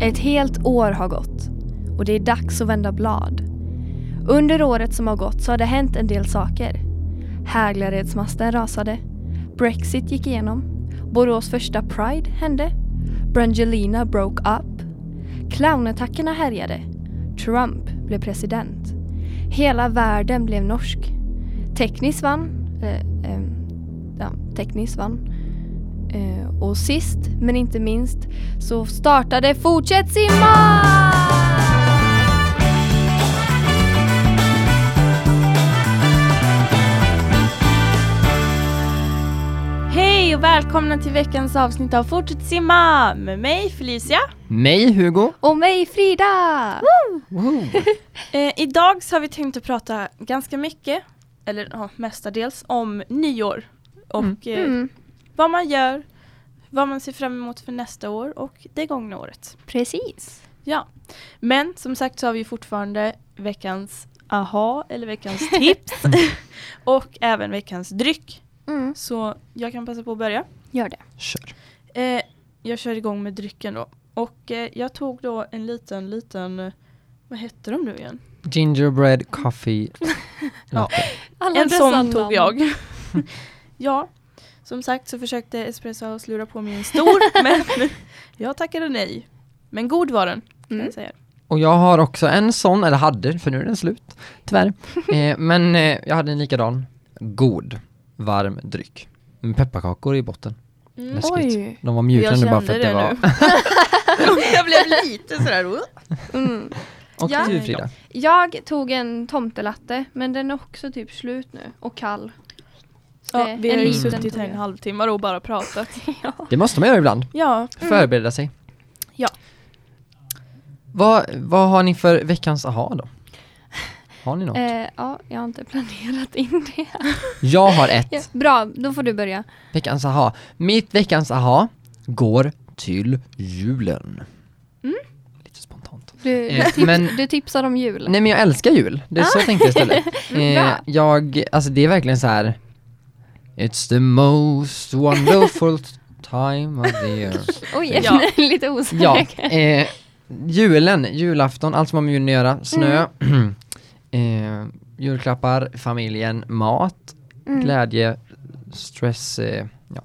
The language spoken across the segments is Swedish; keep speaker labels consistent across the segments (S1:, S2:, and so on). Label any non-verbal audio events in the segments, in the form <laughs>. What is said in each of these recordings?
S1: Ett helt år har gått och det är dags att vända blad. Under året som har gått så har det hänt en del saker. Häglaredsmasten rasade. Brexit gick igenom. Borås första Pride hände. Brangelina broke up. Clownattackerna härjade. Trump blev president. Hela världen blev norsk. Teknis vann. Eh, eh, ja, Teknis vann. Eh, och sist men inte minst så startade Fortsätt simma!
S2: Hej och välkomna till veckans avsnitt av Fortsätt simma med mig Felicia.
S3: Mig Hugo.
S1: Och mig Frida!
S3: Woho.
S2: Eh, idag så har vi tänkt att prata ganska mycket, eller ja, mestadels, om nyår. Och eh,
S1: Mm,
S2: vad man gör, vad man ser fram emot för nästa år och det gångna året.
S1: precis.
S2: Ja, men som sagt så har vi fortfarande veckans aha
S1: <laughs>
S2: eller veckans tips och även veckans dryck.
S1: Mm,
S2: Så jag kan passa på att börja.
S1: gör det.
S3: Kör.
S2: Eh, jag kör igång med drycken då. Och eh, jag tog då en liten, liten, eh, vad hette de nu igen?
S3: Gingerbread coffee latte.
S2: en sån tog jag. ja, som sagt så försökte Espresso House lura på mig en stor, men jag tackade nej. Men god var den, kan
S1: Mm.
S2: jag säga.
S3: Och jag har också en sån, eller hade, för nu är den slut. <laughs> Tyvärr. Eh, men eh, jag hade en likadan. God, varm dryck. Med pepparkakor i botten.
S2: Mm.
S3: Läskigt.
S1: Oj.
S3: De var mjukare
S2: Jag
S3: nu bara för att
S2: kände
S3: det
S2: det
S3: var...
S2: nu. jag blev lite sådär, "Åh."
S1: Mm.
S3: <laughs> Och
S1: Ja.
S3: du Frida.
S1: Jag tog en tomtelatte men den är också typ slut nu och kall.
S2: Ja,
S1: Det-
S2: vi
S1: en
S2: har ju
S3: liten
S2: suttit här
S1: tugga.
S2: en halvtimme och bara pratat.
S3: Det måste man göra ibland.
S2: ja,
S3: Förbereda sig.
S2: Ja.
S3: Vad, vad har ni för veckans aha då? Har ni något?
S1: Eh, ja, jag har inte <laughs> planerat in det.
S3: Jag har ett.
S1: Ja, bra, då får du börja.
S3: Veckans aha. Mitt veckans aha går till julen.
S1: Mm.
S3: Lite spontant.
S1: Du,
S3: Eh,
S1: tips,
S3: men-
S1: du tipsar om jul.
S3: Nej men jag älskar jul. Det är så jag
S1: <laughs>
S3: tänkte istället. Eh,
S1: Mm, Bra.
S3: jag, alltså det är verkligen så här. It's the
S1: <laughs>
S3: most wonderful time of the year.
S1: Oj, jag
S2: Ja.
S1: är <laughs> lite osäker.
S3: Ja, eh, julen, julafton, allt som har med julen att göra. Snö, <clears throat> eh, julklappar, familjen, mat,
S1: Mm.
S3: glädje, stress, eh, ja,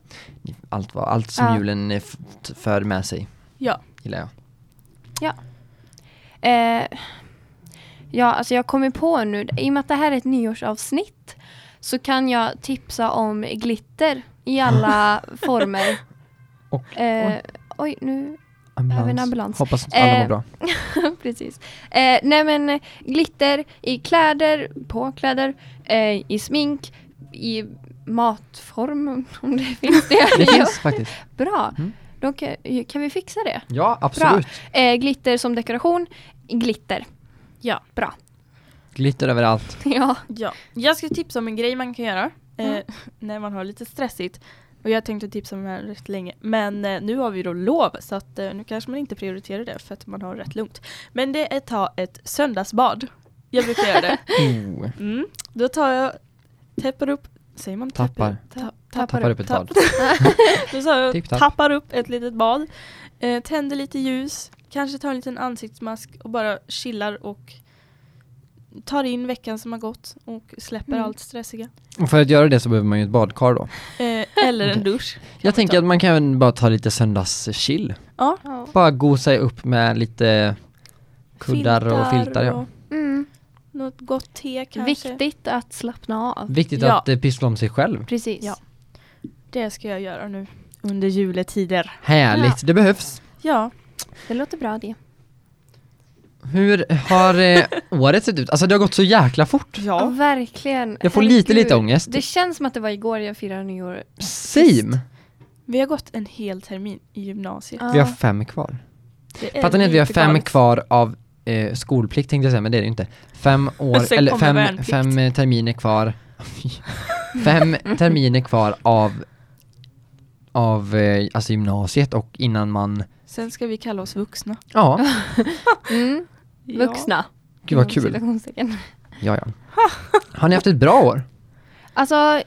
S3: allt, vad, allt som
S1: Ja.
S3: julen eh, f- t- för med sig.
S2: Ja.
S3: Gillar jag.
S1: Eh, ja, alltså jag kommer på nu, i och med att det här är ett nyårsavsnitt så kan jag tipsa om glitter i alla
S3: <laughs>
S1: former.
S3: Och-
S1: eh, oj, nu, Behöver en ambulans.
S3: Hoppas att alla
S1: Eh,
S3: mår bra.
S1: precis. Eh, nej men eh, glitter i kläder, på kläder, eh, i smink, i matform <laughs> om det finns det.
S3: <laughs> Det finns faktiskt.
S1: Bra,
S3: Mm.
S1: då kan, kan vi fixa det.
S3: Ja, absolut.
S1: Eh, glitter som dekoration, glitter.
S2: Ja.
S1: Bra. <laughs>
S3: Glitter överallt.
S1: ja.
S2: ja. Jag ska tipsa om en grej man kan göra eh,
S1: Mm.
S2: <laughs> när man har lite stressigt. Och jag tänkte tipsa om det här rätt länge. Men eh, nu har vi då lov så att eh, nu kanske man inte prioriterar det för att man har rätt lugnt. Men det är att ta ett söndagsbad. Jag brukar
S1: <laughs>
S2: göra det.
S3: Oh,
S2: Mm. Då tar jag, täpper upp, säger man
S3: Tappar.
S2: Ta, tappar,
S3: tappar upp ett
S2: tapp-
S3: bad.
S2: Då sa jag
S3: Tipp-tapp.
S2: tappar upp ett litet bad, eh, tänder lite ljus, kanske tar en liten ansiktsmask och bara chillar och tar in veckan som har gått och släpper
S1: Mm.
S2: allt stressiga.
S3: Och för att göra det så behöver man ju ett badkar då.
S2: Eh, eller en dusch.
S3: Jag tänker att man kan även bara ta lite söndagschill.
S2: Ja,
S3: Bara gosa upp med lite kuddar och filtar. Ja.
S2: och
S1: Mm.
S2: något gott te kanske.
S1: Viktigt att slappna av.
S3: Viktigt
S2: Ja.
S3: att eh, pyssla om sig själv.
S1: Precis.
S2: Ja. Det ska jag göra nu under juletider.
S3: Härligt, det behövs.
S2: Ja,
S1: Det låter bra det.
S3: Hur har
S2: <laughs>
S3: eh, året sett ut? Alltså det har gått så jäkla fort.
S1: Ja,
S2: ja.
S1: verkligen.
S3: Jag får lite, lite ångest.
S1: Det känns som att det var igår jag firade nyår.
S3: Same!
S2: Vi har gått en hel termin i gymnasiet.
S1: Ja.
S3: Vi har fem kvar.
S2: Det är
S3: Fattar ni att vi har
S2: lite
S3: fem
S2: galet.
S3: kvar av eh, skolplikt tänkte jag säga, men det är det ju inte. Fem år,
S2: Sen
S3: eller
S2: kommer
S3: fem,
S2: värnplikt.
S3: fem eh, terminer kvar. <laughs> Fy. fem terminer kvar av av eh, alltså gymnasiet och innan man,
S2: Sen ska vi kalla oss vuxna.
S3: ja,
S1: <laughs> Mm. Vuxna.
S3: gud vad
S1: Inom
S3: kul.
S1: citationstecken.
S2: <laughs>
S3: Ja, ja. Har ni haft ett bra år?
S1: Alltså,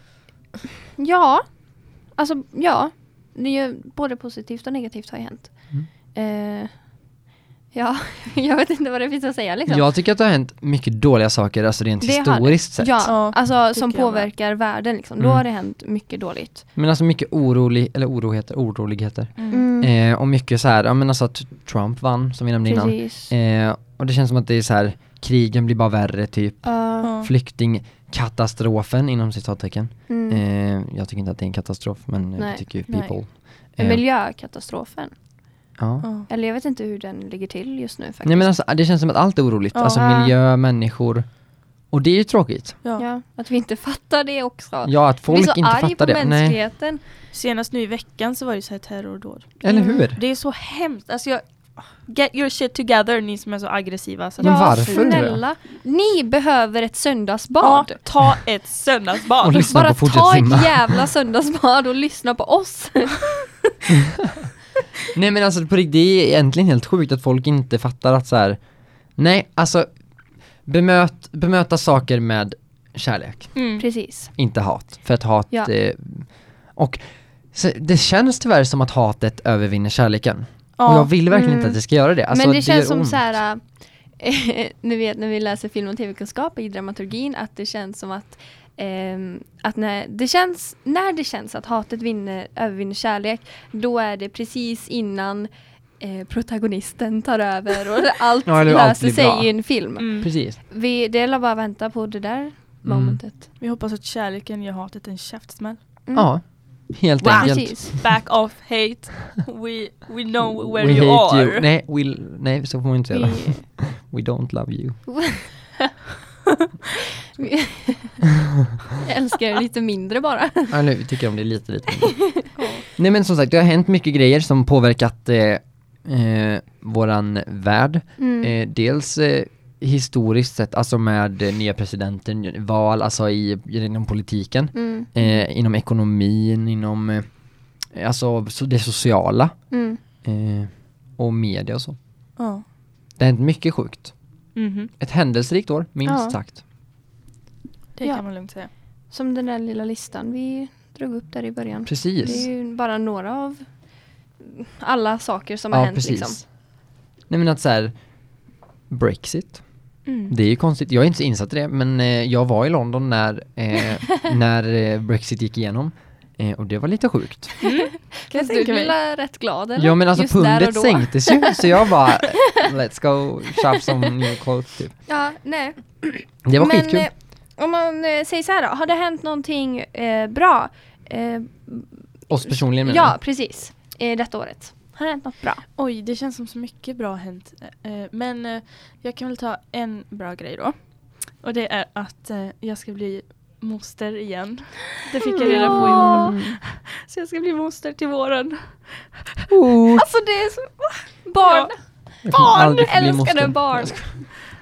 S1: ja.
S3: Mm.
S1: Alltså, ja. Det är ju både positivt och negativt har ju hänt. Eh, Ja, <laughs> jag vet inte vad det finns att säga liksom.
S3: Jag tycker att det har hänt mycket dåliga saker, alltså rent
S1: Det har det.
S3: historiskt sett.
S1: Ja,
S2: Ja,
S1: alltså som
S2: tycker jag med.
S1: påverkar världen liksom. Då
S3: Mm.
S1: har det hänt mycket dåligt.
S3: Men alltså mycket orolig, eller oroheter, oroligheter.
S2: Mm.
S1: Mm.
S3: Eh, och mycket så här, ja men alltså att Trump vann, som vi nämnde
S1: Precis.
S3: innan. Eh, och det känns som att det är så här, krigen blir bara värre typ.
S1: Ja,
S3: Flyktingkatastrofen inom citattecken.
S1: mm.
S3: Eh, jag tycker inte att det är en katastrof, men Nej.
S1: Nej.
S3: det tycker ju
S2: Nej.
S3: people.
S1: Men
S3: Eh,
S1: Miljökatastrofen.
S3: ja.
S2: Ja.
S1: Eller jag vet inte hur den ligger till just nu faktiskt.
S3: Nej men alltså, det känns som att allt är oroligt.
S2: Ja.
S3: Alltså miljö, människor. Och det är ju tråkigt.
S2: Ja.
S1: ja, att vi inte fattar det också.
S3: Ja, att folk
S1: vi är så
S3: inte
S1: arg på
S3: fattar det. Nej.
S1: mänskligheten.
S2: Senast nu i veckan så var det ju så här terrordåd.
S3: Eller
S1: Mm.
S3: hur?
S2: Det är så hemskt. Alltså jag... Get your shit together ni som är så aggressiva. Så att-
S3: Men varför?
S1: snälla. Ni behöver ett
S2: Ja,
S1: söndagsbad.
S2: ta ett söndagsbad.
S3: Och lyssna
S1: Bara
S3: på Fortsätt
S1: ta
S3: simma.
S1: ett
S3: <laughs>
S1: jävla söndagsbad och lyssna på oss.
S3: Nej men alltså på riktigt, det är egentligen helt sjukt att folk inte fattar att så här. Nej, alltså bemöt, bemöta saker med kärlek,
S2: Mm.
S1: Precis.
S3: inte hat. För att hat,
S1: Ja.
S3: eh, och så, det känns tyvärr som att hatet övervinner kärleken. Och jag
S2: Ja.
S3: vill verkligen
S1: Mm.
S3: inte att det ska göra det. Alltså,
S1: Men det,
S3: gör
S1: känns som
S3: ont.
S1: så här, eh, <laughs> ni vet när vi läser film och tv-kunskap i dramaturgin att det känns som att, ehm, att när, det känns, när det känns att hatet vinner, övervinner kärlek då är det precis innan eh, protagonisten tar över
S3: <laughs>
S1: och allt
S3: Ja, eller hur allt
S1: löser
S3: blir
S1: sig
S3: bra.
S1: i en film.
S2: Mm.
S3: Precis.
S1: Vi, det är väl bara att vänta på det
S3: Mm.
S1: där
S3: <laughs>
S1: momentet. <laughs>
S2: Vi hoppas att kärleken ger hatet en käftsmäll.
S1: Mm.
S3: Ja, helt
S1: Wow.
S3: enkelt.
S1: Precis.
S2: Back off hate. We, we know where
S3: We
S2: you
S3: hate
S2: are.
S3: you. Nej, we, nej, så får man inte säga.
S1: Vi-
S3: <laughs> We don't love you.
S1: Vi- Jag älskar det lite mindre bara.
S3: Ja, nu tycker jag om det lite, lite. mindre. Nej men som sagt, det har hänt mycket grejer som påverkat eh, eh, våran värld.
S1: Mm.
S3: Eh, dels eh, historiskt sett, alltså med eh, nya presidenten, val, alltså i, inom politiken,
S1: Mm.
S3: eh, inom ekonomin, inom eh, alltså so- det sociala
S1: Mm.
S3: eh, och media och så.
S2: Ja.
S3: Det har hänt mycket sjukt.
S2: Mhm.
S3: Ett händelserikt år, minst
S1: Ja.
S3: sagt.
S2: Det
S1: Ja.
S2: kan man lugnt säga.
S1: Som den där lilla listan vi drog upp där i början.
S3: Precis.
S1: Det är ju bara några av alla saker som har hänt. Liksom.
S3: Nej men att så här, Brexit.
S2: Mm.
S3: Det är ju konstigt, jag är inte så insatt i det men eh, jag var i London när,
S1: <laughs>
S3: eh, när eh, Brexit gick igenom eh, och det var lite sjukt.
S2: Mm. Kan jag
S1: Du
S2: tänka mig.
S1: blev rätt glad eller?
S3: Ja men alltså
S1: Just där och
S3: pundet
S1: då.
S3: sänktes ju så jag bara
S1: <laughs>
S3: eh, let's go shop some new clothes typ.
S1: Ja, nej.
S3: Det var
S1: men
S3: skitkul.
S1: eh, om man eh, säger så här då, har det hänt någonting eh, bra? Eh,
S3: Oss personligen menar
S1: ja,
S3: jag.
S1: precis. Eh, detta året. Har det hänt något bra?
S2: Oj, det känns som så mycket bra har hänt. Eh, Men eh, jag kan väl ta en bra grej då. Och det är att eh, jag ska bli moster igen. Det fick jag reda på i
S1: Ja.
S2: år. Så jag ska bli moster till våren.
S3: Oh,
S1: Alltså det är så... Barn!
S3: jag kommer
S1: barn!
S3: aldrig få bli
S1: Älskade
S3: moster.
S1: barn.
S3: Jag ska-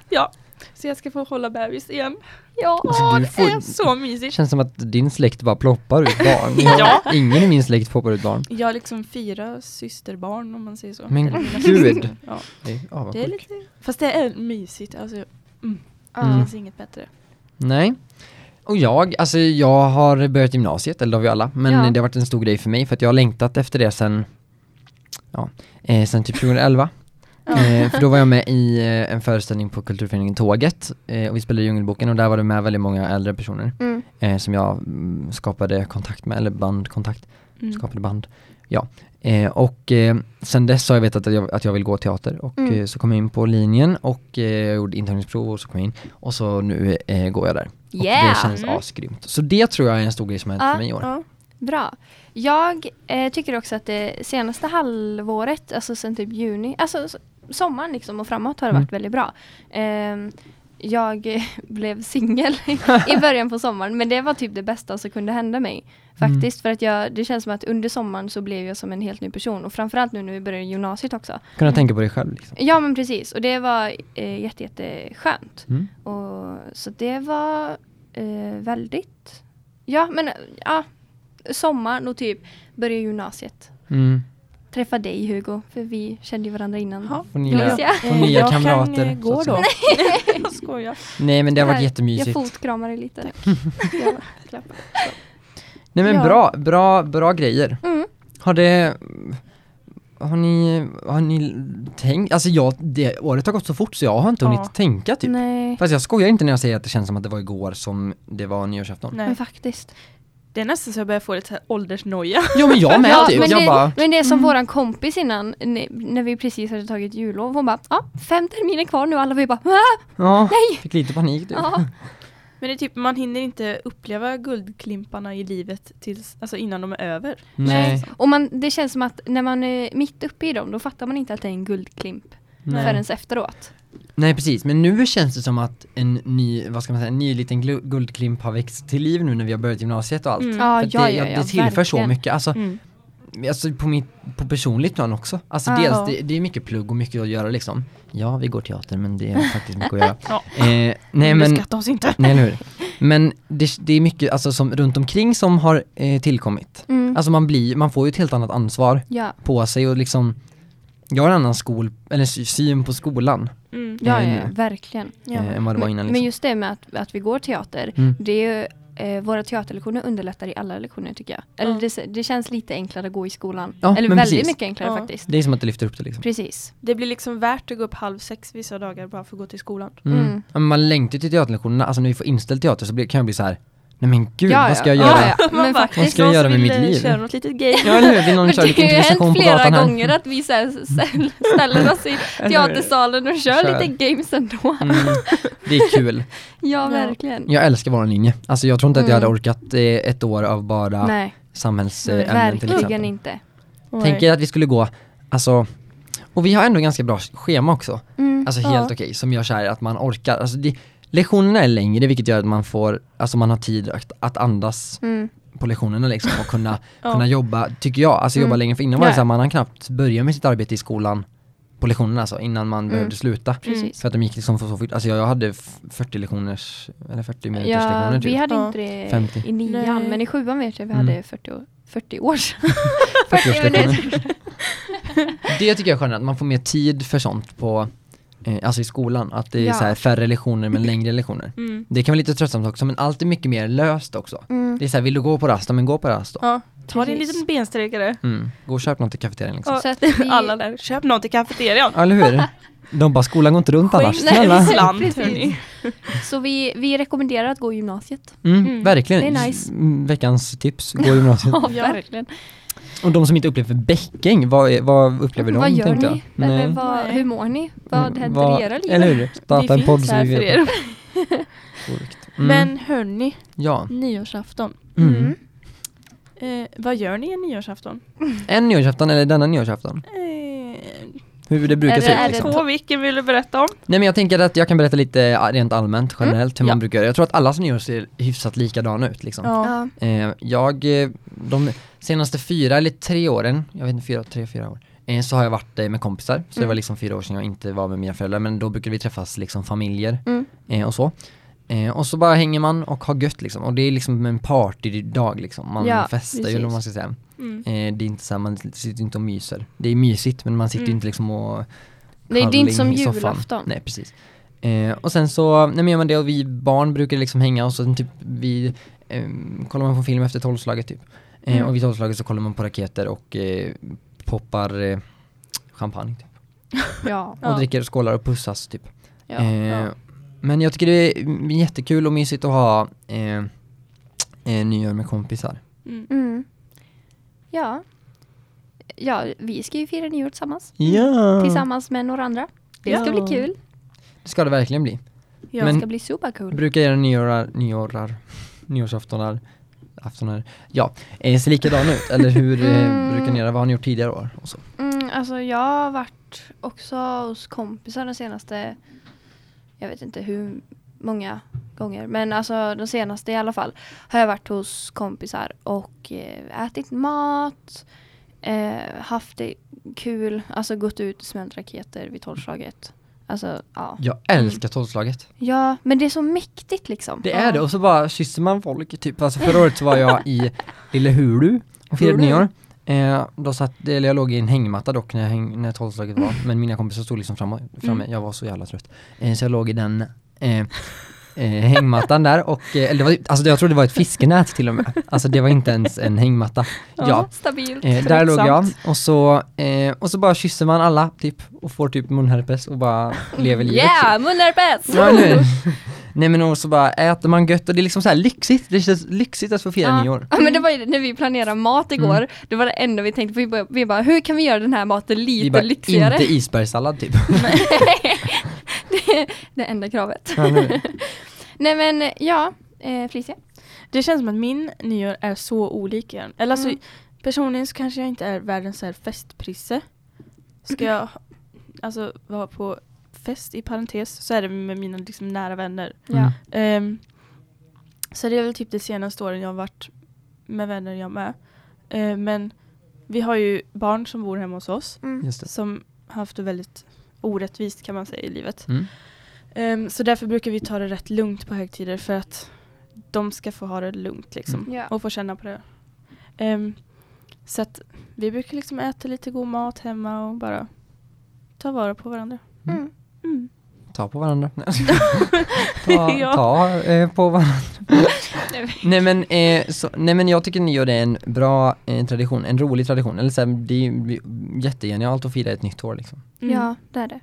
S2: Ja, så jag ska få hålla bebis igen.
S1: Ja,
S3: Alltså,
S2: Åh,
S3: du
S2: det
S3: får-
S2: är så
S3: Det
S2: mysigt.
S3: känns som att din släkt bara ploppar
S1: <laughs>
S3: ut barn.
S2: Ja.
S3: Ingen i min släkt ploppar ut barn.
S2: Jag har liksom fyra systerbarn om man säger så.
S3: Men
S2: Eller mina
S1: <laughs>
S3: gud.
S2: systrar. Ja,
S3: Det är
S2: det är
S3: avundsjuk.
S2: lite... Fast det är mysigt. Alltså, det
S1: Ja.
S2: finns inget bättre.
S3: Nej. Och jag, alltså jag har börjat gymnasiet, eller det har vi alla, men
S1: Ja.
S3: det har varit en stor grej för mig för att jag har längtat efter det sen, ja, eh, sen typ 2011. Eh, för då var jag med i eh, en föreställning på Kulturföreningen Tåget eh, och vi spelade Djungelboken och där var det med väldigt många äldre personer
S1: Mm.
S3: eh, som jag mm, skapade kontakt med, eller bandkontakt,
S2: Mm.
S3: skapade band. Ja, eh, och eh, sen dess har jag vetat att jag, att jag vill gå teater och
S1: Mm.
S3: eh, så kom jag in på linjen och eh, jag gjorde intagningsprov och så kom jag in och så nu eh, går jag där. Och det
S1: Yeah!
S3: känns
S2: Mm.
S3: asgrymt. Så det tror jag är en stor grej som har hänt
S1: Ja,
S3: för mig i år.
S2: Ja.
S1: Bra. Jag eh, tycker också att det senaste halvåret, alltså sen typ juni, alltså s- sommaren liksom och framåt har det varit
S3: Mm.
S1: väldigt bra. Ehm, jag <laughs> eh, blev singel i början på sommaren men det var typ det bästa som kunde hända mig.
S3: Mm.
S1: Faktiskt för att jag, det känns som att under sommaren så blev jag som en helt ny person och framförallt nu när vi började gymnasiet också.
S3: Kunna
S2: Mm.
S3: tänka på dig själv liksom.
S1: Ja men precis och det var eh, jätte, jätte skönt.
S3: Mm.
S1: Och, så det var eh, väldigt... Ja, men eh, ja. Sommaren och typ börja gymnasiet.
S3: Mm.
S1: Träffa dig Hugo, för vi kände ju varandra innan.
S2: Ja.
S3: Får nya,
S1: Ja.
S3: får nya
S2: jag
S3: kamrater.
S2: kan eh,
S3: så
S2: gå
S3: att
S2: då.
S3: säga. <laughs>
S2: jag skojar.
S3: Nej men det har varit
S1: Jag
S3: jättemysigt.
S1: fotkramar dig lite.
S2: Jag klappar.
S3: Nej men
S2: Ja.
S3: bra, bra, bra grejer.
S1: Mm.
S3: Har det, mm, har ni, har ni tänkt, alltså jag, det, året har gått så fort så jag har inte hunnit
S2: Ja.
S3: tänka typ.
S1: Nej,
S3: Fast jag skojar inte när jag säger att det känns som att det var igår som det var nyårsafton.
S1: men
S2: Nej.
S1: faktiskt.
S2: Det är nästan så jag börjar få lite så här åldersnoja.
S3: Jo men jag med
S1: Ja,
S3: typ.
S1: men,
S3: jag
S1: det,
S3: bara,
S1: men det är som
S2: Mm.
S1: våran kompis innan, n- när vi precis hade tagit jullov, hon bara ja, fem terminer kvar nu, alla vi bara "Ah,
S3: ja,
S1: nej!
S3: fick lite panik typ.
S1: Ja.
S2: Men det är typ, man hinner inte uppleva guldklimparna i livet tills, alltså innan de är över.
S3: <laughs> Nej.
S1: Och man, det känns som att när man är mitt uppe i dem, då fattar man inte att det är en guldklimp
S3: Nej.
S1: förrän efteråt.
S3: nej precis, men nu känns det som att en ny, vad ska man säga, en ny liten glu- guldklimp har växt till liv nu när vi har börjat gymnasiet och allt.
S2: Mm.
S1: Ja,
S3: För att
S1: ja,
S3: det,
S1: ja, ja,
S3: det tillför så
S1: verkligen.
S3: mycket, alltså,
S2: Mm.
S3: alltså på, mitt, på personligt plan också. Alltså
S1: Ja.
S3: dels, det, det är mycket plugg och mycket att göra liksom. Ja, vi går teater men det är faktiskt mycket att
S1: <laughs>
S3: göra.
S2: Ja.
S3: Eh, nej
S2: Vi
S3: men
S2: beskattar oss inte.
S3: Nej, eller hur? Men det, det är mycket alltså, som runt omkring som har eh, tillkommit.
S1: Mm.
S3: Alltså man, blir, man får ju ett helt annat ansvar
S1: Ja,
S3: på sig och liksom Jag har en annan skol, eller sy- syn på skolan
S2: Mm.
S1: ja, ja,
S3: Eh,
S1: ja verkligen.
S2: Ja.
S3: eh, än vad det var
S1: Men-
S3: innan liksom.
S1: Men just det med att, att vi går teater,
S3: Mm.
S1: det är ju, eh, våra teaterlektioner underlättar i alla lektioner tycker jag. Eller
S2: Ja.
S1: det, det känns lite enklare att gå i skolan.
S3: Ja,
S1: Eller
S3: men
S1: väldigt
S3: precis.
S1: mycket enklare
S2: Ja.
S1: faktiskt.
S3: Det är som att det lyfter upp det liksom.
S1: Precis.
S2: Det blir liksom värt att gå upp halv sex vissa dagar bara för att gå till skolan.
S3: Mm.
S1: Mm.
S3: Ja, men man längtar till teaterlektionerna, alltså när vi får inställd teater så blir, kan jag bli så här. Nej men gud, vad ska jag göra?
S1: Ja, ja.
S2: <laughs> Man
S1: Men
S2: bara,
S3: Vad
S1: faktiskt.
S3: ska jag
S2: någon
S3: göra
S2: som
S3: med
S2: vill,
S3: mitt
S2: eh,
S3: liv?
S2: Köra något litet game.
S3: Ja, eller hur? Vill
S1: <laughs>
S3: någon
S1: Men
S3: köra lite
S1: det har ju
S3: improvisation
S1: hänt
S3: på
S1: flera
S3: gatan här?
S1: gånger att vi så här ställ-
S3: <laughs>
S1: ställer oss i teatersalen och kör
S3: Kör.
S1: lite games ändå.
S3: Mm. Det är kul.
S1: Ja, verkligen.
S3: Jag älskar vår linje. Alltså jag tror inte att jag
S1: Mm.
S3: hade orkat eh, ett år av bara
S1: Nej,
S3: samhällsämnen till exempel.
S1: verkligen inte.
S3: Tänk er att vi skulle gå, alltså, och vi har ändå ganska bra schema också.
S1: Mm.
S3: Alltså
S2: Ja.
S3: helt okej, som gör så här att man orkar. Alltså det, lektionerna är längre vilket gör att man får, alltså man har tid att, att andas
S1: Mm.
S3: på lektionerna liksom
S1: <laughs>
S3: och kunna,
S2: Ja.
S3: kunna jobba, tycker jag, alltså jobba
S1: Mm.
S3: längre. För innan var det
S1: Ja.
S3: så här, man hann knappt börja med sitt arbete i skolan på lektionerna alltså, innan man behövde sluta.
S1: Mm. Precis.
S3: För att de gick liksom för så fort, alltså jag, jag hade f- 40 lektioners, eller 40 minuters
S1: Ja,
S3: lektioner typ.
S1: vi hade
S2: Ja.
S1: inte det
S3: 50.
S1: i nian,
S2: Nej.
S1: men i sjuan vet jag vi
S3: Mm.
S1: hade 40 år, 40 år
S3: <laughs>
S1: sedan.
S3: 40
S1: minuter.
S3: Det tycker jag är skönt, att man får mer tid för sånt på, eh, alltså i skolan. Att det är
S1: Ja.
S3: så här färre lektioner men längre lektioner.
S2: Mm.
S3: Det kan vara lite tröttsamt också men allt är mycket mer löst också.
S1: Mm.
S3: Det är så här, vill du gå på rast? Ja, Men gå på rast då.
S2: Ja, ta din
S1: Precis.
S2: liten bensträckare.
S3: Mm. Gå och köp något i kafeterian liksom.
S2: Ja, <laughs>
S1: Så att vi-
S2: Alla där, köp något i kafeterian.
S3: Ja. Eller hur? De bara, skolan går inte runt annars.
S2: Skänk dig
S3: Snälla.
S2: en slant
S1: Precis.
S2: hörni.
S1: Så vi, vi rekommenderar att gå i
S3: <laughs>
S1: gymnasiet.
S3: Mm,
S2: Mm.
S3: Verkligen.
S1: Det är nice.
S3: Mm, Veckans tips, gå i
S1: <laughs>
S3: gymnasiet.
S1: Ja,
S2: Ja.
S1: verkligen.
S3: och de som inte upplever bäcking, vad, är- vad upplever de?
S1: Vad gör
S3: tänkte
S1: ni?
S3: jag.
S1: Eller
S3: Nej.
S1: vad,
S2: Nej.
S1: hur mår ni? Vad
S3: Mm,
S1: händer
S3: vad-
S1: i era liv?
S3: Eller hur?
S2: Vi
S3: Starta en podd
S2: finns
S3: så vi
S2: här för
S3: vet.
S2: er.
S1: <laughs>
S3: Sjukt. Mm.
S2: Men hörni,
S3: Ja.
S2: nyårsafton.
S3: Mm.
S1: Mm.
S2: Eh, vad gör ni en nyårsafton?
S3: En nyårsafton eller denna nyårsafton?
S2: Eh,
S3: Hur det brukar
S1: Är
S3: se
S1: det-
S3: ut
S1: är
S3: liksom.
S2: Två vilken vill du berätta om?
S3: Nej men jag tänker att jag kan berätta lite ah, rent allmänt
S1: Mm.
S3: generellt hur man
S2: ja.
S3: brukar göra. Jag tror att allas nyår ser hyfsat likadana ut liksom.
S1: Ja.
S3: Eh, jag, eh, de senaste fyra eller tre åren, jag vet inte, fyra, tre, fyra år, eh, så har jag varit eh, med kompisar. Så det
S1: Mm.
S3: var liksom fyra år sedan jag inte var med mina föräldrar, men då brukade vi träffas liksom familjer
S1: Mm.
S3: eh, och så. Eh, och så bara hänger man och har gött liksom. Och det är liksom en partydag liksom. Man
S1: Ja,
S3: festar ju
S1: precis.
S3: eller vad man ska säga.
S2: Mm.
S3: Eh, det är inte så här, man sitter inte och myser. Det är mysigt men man sitter ju
S2: Mm.
S3: inte liksom och
S1: Nej, det är inte som
S3: halling i soffan.
S1: julafton.
S3: Nej precis. Eh, och sen så, nej men gör man det och vi barn brukar liksom hänga och så typ vi eh, kollar man på film efter tolvslaget typ. Eh,
S1: Mm.
S3: Och vid tolvslaget så kollar man på raketer och eh, poppar eh, champagne typ.
S1: Ja.
S2: Ja.
S3: Och dricker och skålar och pussas typ.
S1: Ja.
S3: eh,
S2: ja.
S3: Men jag tycker det är jättekul och mysigt att ha eh, eh, nyår med kompisar.
S2: Mm.
S1: Mm. ja. Ja, vi ska ju fira nyår tillsammans.
S3: Ja!
S1: Tillsammans med några andra. Det ska
S2: Ja.
S1: bli kul.
S3: Det ska det verkligen bli.
S2: Ja.
S1: Det
S3: Men-
S1: ska bli superkul.
S3: Brukar göra nyårar, nyårar, nyårsaftonar, aftonar, ja, eh, ser likadan ut. Eller hur eh,
S1: Mm.
S3: brukar ni göra? Vad har ni gjort tidigare år? Och så.
S1: Mm, alltså jag har varit också hos kompisar de senaste, jag vet inte hur många gånger, men alltså de senaste i alla fall har jag varit hos kompisar och eh, ätit mat, eh, haft det kul, alltså gått ut och smält raketer vid tolvslaget. Alltså ja.
S3: Jag älskar tolvslaget.
S1: Ja, men det är så mäktigt liksom.
S3: Det är det, och så bara kysser man folk. Typ. Alltså förra året så var jag i Lille Hulu och firade
S1: Hulu.
S3: nyår. Eh, då satt, eller jag låg i en hängmatta dock när, jag häng, när tolvslaget var, men mina kompisar stod liksom framme, framme. jag var så jävla trött. Eh, så jag låg i den. Eh, eh, hängmattan där och, eh, eller det var, alltså jag tror det var ett fiskenät till och med. Alltså det var inte ens en hängmatta. Ja,
S1: Stabilt.
S3: eh, där låg jag och så, eh, och så bara kysser man alla typ och får typ munherpes och bara lever livet.
S1: Yeah, munherpes!
S3: Ja, nu. eh, Nej men och så bara äter man gött och det är liksom så här lyxigt, det känns lyxigt att få fira nyår.
S1: Ja men det var ju när vi planerade mat igår, det var det enda vi tänkte på. Vi bara, vi bara hur kan vi göra den här maten
S3: Mm. Vi
S1: lite
S3: bara,
S1: lyxigare? <laughs>
S3: inte isbergssallad typ.
S1: det är det enda kravet.
S3: Ja, nu.
S1: Nej men ja, eh, Felicia.
S2: Det känns som att min nyår är så olik er. Eller alltså,
S1: Mm.
S2: personligen så kanske jag inte är världens så här festprisse. Ska jag alltså vara på fest i parentes så är det med mina liksom, nära vänner.
S3: Mm.
S2: Ehm, så det är väl typ det senaste åren jag har varit med vänner jag med. Ehm, men vi har ju barn som bor hemma hos oss
S1: Mm.
S3: Just det.
S2: som har haft det väldigt orättvist kan man säga i livet.
S3: Mm.
S2: Ehm, så därför brukar vi ta det rätt lugnt på högtider för att de ska få ha det lugnt liksom
S1: Mm. Ja.
S2: och få känna på det. Ehm, så att vi brukar liksom äta lite god mat hemma och bara ta vara på varandra.
S1: Mm.
S2: Mm.
S3: Ta på varandra. <laughs>
S1: <laughs>
S3: ta
S2: Ja.
S3: ta eh, på varandra. nej, men, eh, så, nej men jag tycker nyår är en bra eh, tradition, en rolig tradition. Eller så här, det är ju jättegenialt att fira ett nytt år liksom.
S2: Mm.
S1: ja, det är det.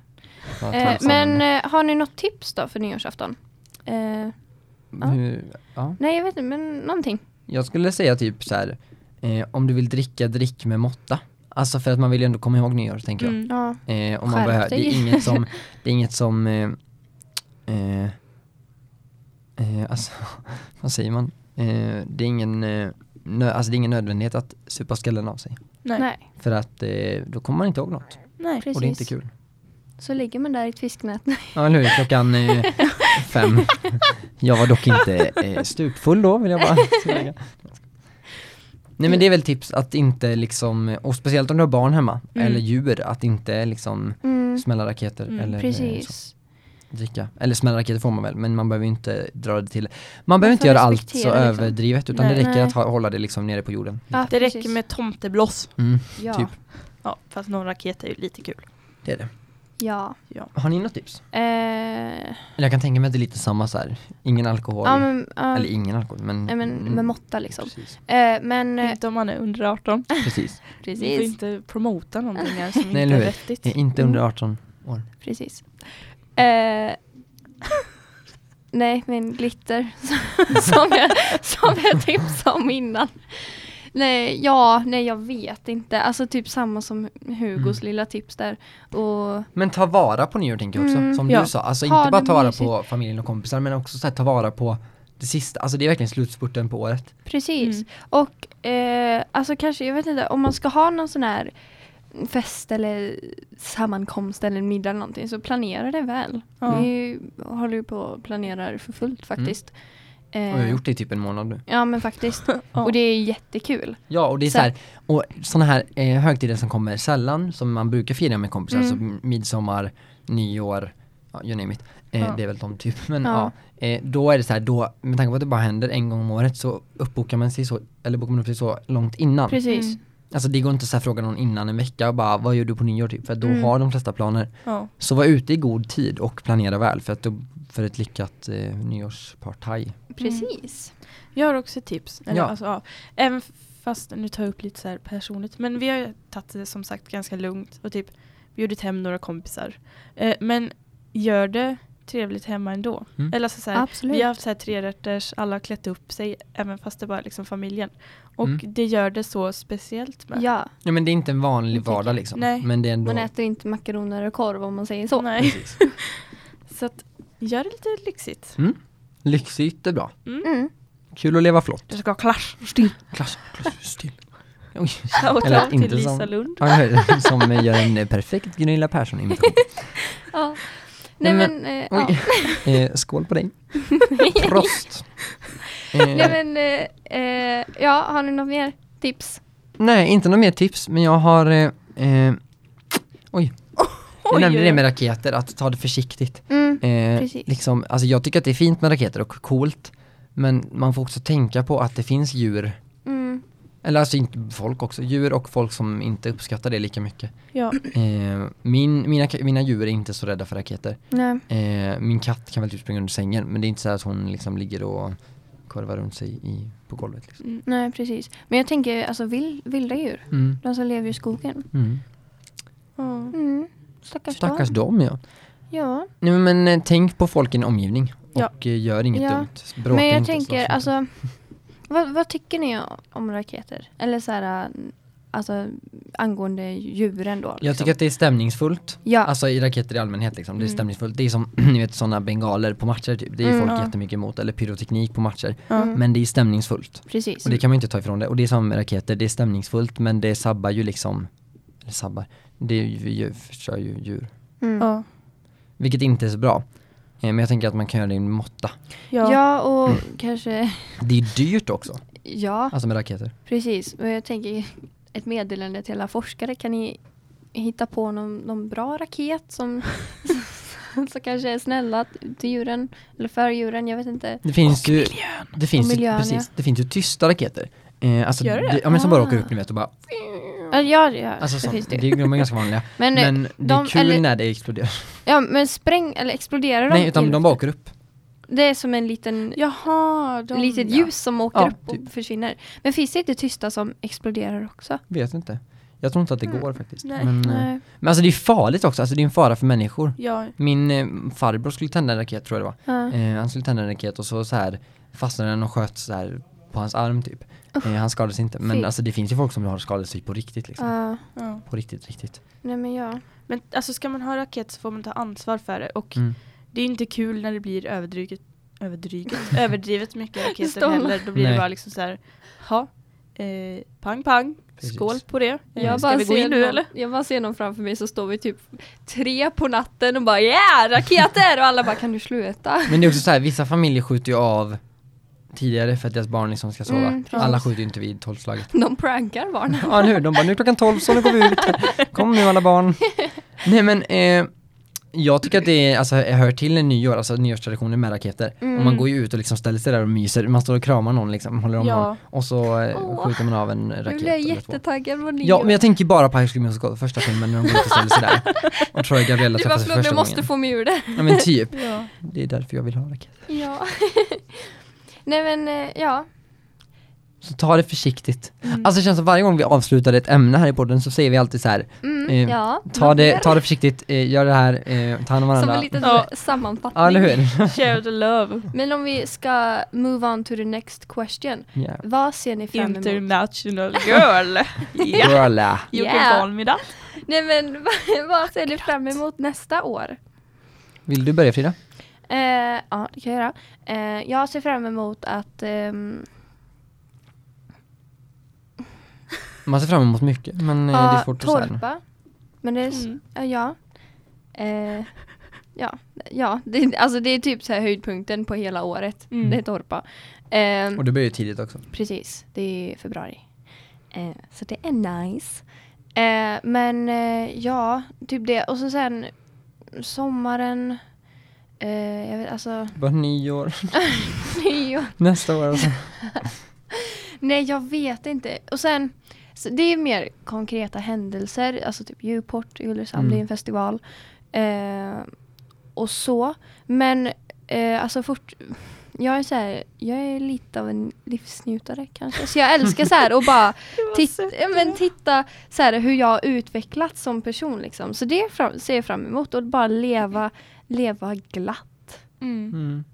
S3: Bara ta
S1: Eh,
S3: det
S1: men
S3: samman.
S1: eh, har ni något tips då för nyårsafton? Eh, ja.
S3: Hur, ja.
S1: nej jag vet inte, men någonting.
S3: Jag skulle säga typ så här, eh, om du vill dricka, drick med måtta. Alltså för att man vill ju ändå komma ihåg nyår tänker jag.
S2: Mm.
S1: Ja.
S3: Eh, om man
S1: Skärp
S3: behöver, det
S1: dig.
S3: är
S1: <laughs>
S3: inget som, det är inget som, eh, eh, eh, alltså, <laughs> vad säger man? Eh, det, är ingen, eh, nö, alltså det är ingen nödvändighet att supa skallen av sig.
S2: Nej. Nej.
S1: Nej,
S3: För att eh, då kommer man inte ihåg något
S1: precis.
S3: och det är inte kul.
S1: Så ligger man där i ett fisknät.
S3: <laughs> Ja eller hur, klockan eh, fem. <laughs> Jag var dock inte eh, stupfull då vill jag bara <laughs> tillägga. Nej men det är väl tips att inte liksom, och speciellt om du har barn hemma,
S2: Mm.
S3: eller djur, att inte liksom
S1: Mm,
S3: smälla raketer
S2: Mm,
S3: eller eh, så.
S1: precis.
S3: dricka. Eller smälla raketer får man väl, men man behöver ju inte dra det till... Man behöver
S1: får
S3: inte göra allt så
S1: respektera liksom.
S3: överdrivet utan
S2: Nej.
S3: det räcker
S1: Nej.
S3: att ha, hålla det liksom nere på jorden.
S1: Ja,
S2: Det räcker
S1: precis.
S2: med tomteblås.
S3: Mm,
S1: ja.
S3: typ.
S2: Ja, fast någon raket är ju lite kul.
S3: det är det.
S1: Ja.
S3: Har ni något tips?
S1: Eh,
S3: Eller jag kan tänka mig att det är lite samma så här. ingen alkohol,
S1: ja men, ja,
S3: eller ingen alkohol, men... mm.
S1: nej, men med måtta liksom.
S3: Precis,
S1: Eh, men eh,
S2: Inte om man är under 18.
S3: precis.
S2: Vi får inte promota någonting <laughs> här som
S3: Nej,
S2: inte
S3: eller
S2: är
S3: hur?
S1: <laughs>
S2: vettigt.
S3: Eh,
S1: Mm.
S3: Inte under 18 år.
S1: Precis. Eh, <laughs> nej, men glitter <laughs> som, jag, som jag tipsade om innan. Nej, ja, nej jag vet inte. Alltså typ samma som Hugos
S3: Mm.
S1: lilla tips där. Och,
S3: Men ta vara på nyår tänker jag också,
S1: Mm,
S3: som
S2: ja.
S3: du sa. Alltså
S1: Ha
S3: inte bara
S1: det
S3: ta vara
S1: mysigt.
S3: på familjen och kompisar men också så här, ta vara på det sista, alltså det är verkligen slutspurten på året.
S1: precis.
S2: Mm.
S1: Och eh, alltså kanske, jag vet inte, om man ska ha någon sån här fest eller sammankomst eller en middag eller någonting så planera det väl.
S2: Ja.
S1: Vi håller ju på och planerar för fullt faktiskt.
S3: Och jag Mm. har
S1: Eh,
S3: gjort det i typ en månad nu.
S1: Ja men faktiskt.
S2: <laughs> Ja.
S1: Och det är jättekul.
S3: Ja, och det är
S1: Så-
S3: så här, och sådana här eh, högtider som kommer sällan, som man brukar fira med kompisar,
S1: Mm.
S3: så m- midsommar, nyår, ja, you name it. Eh,
S2: Ja.
S3: Det är väl de typ, men
S1: Ja.
S3: ja. eh, då är det så här, då, med tanke på att det bara händer en gång om året så uppbokar man sig så, eller bokar man upp sig så långt innan.
S1: Precis.
S2: Mm.
S3: Alltså det går inte så här fråga någon innan en vecka och bara, vad gör du på nyår typ? För att då
S1: Mm.
S3: har de flesta planer.
S2: Ja.
S3: Så var ute i god tid och planera väl för, att då, för ett lyckat eh, nyårspartaj.
S1: Mm. Precis.
S2: Jag har också ett tips. Eller,
S3: Ja.
S2: alltså, ja. Även fast, nu tar jag upp lite så här personligt, men vi har ju tagit det som sagt ganska lugnt och typ bjudit hem några kompisar. Eh, men gör det trevligt hemma ändå.
S3: Mm.
S2: Eller så, så här,
S1: Absolut.
S2: Vi har haft så här trerätters, alla har klätt upp sig, även fast det bara är liksom familjen. Och
S3: Mm.
S2: det gör det så speciellt med.
S1: Ja,
S3: Ja men det är inte en vanlig
S2: Jag tycker-
S3: vardag liksom.
S2: nej.
S3: Men det är ändå...
S1: man äter inte makaroner och korv om man säger så.
S2: Nej.
S3: Precis.
S2: Så att, gör det lite lyxigt.
S3: Mm. Lyxigt är bra.
S1: Mm.
S3: Kul att leva flott.
S2: Du ska klasch, still.
S3: Klass, klass, still. Oj.
S2: Shoutout till
S3: inte
S2: Lisa
S3: som-
S2: Lund.
S3: Ja, jag hör- Som gör en eh, perfekt
S2: <laughs>
S3: Gunilla Persson-imitation.
S1: Ja. Nej men,
S3: men-
S1: eh, ja.
S3: Oj. Eh, skål
S2: <laughs>
S3: på dig. Prost. <laughs> Eh,
S1: Nej men, eh, eh, ja har ni något mer tips?
S3: nej, inte några mer tips, men jag har... Eh, eh, oj. Jag
S2: Oj,
S3: nämnde
S2: oj,
S3: det
S2: oj.
S3: med raketer, att ta det försiktigt.
S1: Mm.
S3: Eh,
S1: Precis.
S3: liksom, alltså jag tycker att det är fint med raketer och coolt, men man får också tänka på att det finns djur
S1: Mm.
S3: Eller alltså inte folk också, djur och folk som inte uppskattar det lika mycket.
S2: Ja.
S3: Eh, min, mina, ka- mina djur är inte så rädda för raketer.
S1: Nej.
S3: Eh, min katt kan väl typ springa under sängen men det är inte så att hon liksom ligger och korvar runt sig i, på golvet. Liksom.
S2: Mm.
S1: Nej, precis. Men jag tänker alltså vild, vilda djur.
S3: Mm,
S1: De som lever i skogen.
S3: mm.
S2: Ja.
S1: Mm. Stackars,
S3: Stackars
S1: dem.
S3: dem ja.
S1: Ja.
S3: Nej, men eh, tänk på folk i din omgivning
S2: Ja.
S3: och eh, gör inget
S1: Ja.
S3: dumt. Bråka
S1: Men jag
S3: inte, slåss
S1: tänker
S3: inte.
S1: alltså. <laughs> Vad, vad tycker ni om raketer? Eller så här. äh, Alltså angående djuren då.
S3: Jag
S1: liksom.
S3: tycker att det är stämningsfullt.
S1: Ja.
S3: Alltså i raketer i allmänhet liksom. Det är
S2: Mm.
S3: stämningsfullt. Det är som <clears throat> ni vet sådana bengaler på matcher typ. Det är ju
S1: Mm,
S3: folk
S2: ja.
S3: jättemycket emot. Eller pyroteknik på matcher.
S1: Mm.
S3: Men det är stämningsfullt.
S1: Precis.
S3: Och det kan man ju inte ta ifrån det. Och det är som med raketer, det är stämningsfullt men det sabbar ju liksom, eller sabbar, det är ju- ju- förstör ju djur.
S1: Mm.
S2: Ja.
S3: Vilket inte är så bra. Eh, Men jag tänker att man kan göra det i måtta.
S1: Ja.
S2: Ja. Ja.
S1: och kanske. <laughs>
S3: Det är dyrt också,
S1: Ja,
S3: Mm. alltså med raketer.
S1: precis. Och jag tänker ett meddelande till alla forskare. Kan ni hitta på någon, någon bra raket som, <laughs> som kanske är snälla till djuren? Eller för djuren, jag vet inte.
S3: Det finns ju,
S2: miljön.
S3: det finns
S1: Och
S3: ju,
S1: miljön,
S3: precis, det finns ju tysta raketer. Eh, alltså,
S2: Gör det?
S3: Ja men som bara
S1: Ah.
S3: åker upp ni vet och bara,
S1: Ja, ja, ja
S3: alltså
S1: det
S3: som,
S1: finns det.
S3: det, de är ganska vanliga.
S1: men, eh,
S3: men det är
S1: de-
S3: kul
S1: eller-
S3: när det exploderar.
S1: ja, men spräng eller exploderar de?
S3: Nej utan
S1: i
S3: de bara
S1: luften?
S3: åker upp.
S1: Det är som en liten
S2: Jaha, de
S1: litet
S2: ja.
S1: ljus som åker
S3: Ja,
S1: upp och
S3: typ.
S1: försvinner. Men finns det inte tysta som exploderar också?
S3: Vet inte. Jag tror inte att det
S2: Mm.
S3: går faktiskt.
S2: Nej.
S3: Men, eh, men alltså det är farligt också, alltså det är en fara för människor.
S2: Ja.
S3: Min eh, farbror skulle tända en raket tror jag det var.
S1: Ja.
S3: Eh, han skulle tända en raket och så, så här fastnade den och sköt så här på hans arm typ. Eh, han skadades inte. Men
S1: Fy.
S3: alltså det finns ju folk som har skadat sig på riktigt liksom.
S1: Ja.
S2: ja.
S3: På riktigt, riktigt.
S1: nej men ja.
S2: Men alltså ska man ha raket så får man ta ansvar för det. Och
S3: Mm.
S2: det är inte kul när det blir överdryget, överdryget, överdrivet mycket raketer
S1: Stålar.
S2: heller. Då blir
S3: Nej.
S2: det bara liksom så här, ha, eh, pang pang,
S3: Precis.
S2: skål på det. Eh,
S3: Jag
S2: ska vi gå in nu
S1: någon,
S2: eller?
S1: Jag bara ser någon framför mig så står vi typ tre på natten och bara ja, yeah, raketer! Och alla bara kan du sluta?
S3: Men det är också så här, vissa familjer skjuter ju av tidigare för att deras barn liksom ska sova.
S1: Mm, precis.
S3: Alla skjuter ju inte vid tolvslaget.
S1: De prankar barnen.
S3: Ja nu, de bara nu är klockan 12 så nu går vi ut. Kom nu alla barn. Nej men eh, jag tycker att det är, alltså, jag hör till en nyår, alltså nyårstraditionen med raketer. Och man går ju ut och liksom ställer sig där och myser, man står och kramar någon liksom, håller om
S2: Ja.
S3: någon. Och så eh,
S1: Åh.
S3: skjuter man av en
S1: Nu
S3: raket.
S1: blir jag
S3: eller två.
S1: jättetaggad på nyår.
S3: Ja men jag tänker bara på High School Musical, första filmen när de går ut och ställer sig där. Och Troy och Gabriella
S1: du bara
S3: träffas för
S1: förlåt,
S3: första
S1: jag måste
S3: gången.
S1: få mig ur det.
S3: Ja men typ,
S2: Ja.
S3: det är därför jag vill ha raket.
S1: Ja. <laughs> nej men eh, ja.
S3: Så ta det försiktigt. Alltså det känns som varje gång vi avslutar ett ämne här i podden så säger vi alltid så här.
S1: Mm,
S3: Eh,
S1: ja.
S3: Ta det, ta det försiktigt, eh, gör det här, eh, ta hand
S1: Som
S3: om varandra.
S1: en liten
S2: Ja.
S1: sammanfattning.
S3: Ja, eller hur? <laughs>
S2: Share the love,
S1: Men om vi ska move on to the next question.
S3: Yeah.
S1: Vad ser ni fram emot?
S2: international girl. ja.
S3: Girl, eh.
S2: You
S1: Yeah.
S2: can call me that.
S1: Nej men <laughs> vad, vad ser ni fram emot nästa år?
S3: Vill du börja Frida?
S1: Eh, ja, det kan jag göra. Eh, jag ser fram emot att... ehm,
S3: Man ser fram emot mycket men eh, det är
S1: ja,
S3: svårt att säga.
S1: torpa. Men det är... s-
S2: Mm.
S1: eh, Ja. Eh, ja, ja det, alltså det är typ så här höjdpunkten på hela året.
S2: Mm.
S1: Det är torpa. Ehm,
S3: Och du börjar ju tidigt också.
S1: Precis, det är februari. Eh, så det är nice. Eh, men eh, ja, typ det. Och så sen sommaren. Eh, jag vet, alltså <laughs>
S3: Bara nyår, <laughs>
S1: nyår.
S3: nästa år och <laughs> så.
S1: Nej, jag vet inte. Och sen, så det är mer konkreta händelser. Alltså typ Djurport i Ulricehamn, det är
S3: Mm.
S1: en festival. Eh, och så. Men eh, alltså fort... Jag är, så här, jag är lite av en livsnjutare kanske. Så jag älskar så här och bara tit- ja, men titta så här, hur jag har utvecklats som person. Liksom. Så det fram- ser jag fram emot. Och bara leva, leva glatt.
S2: Mm.
S3: Mm.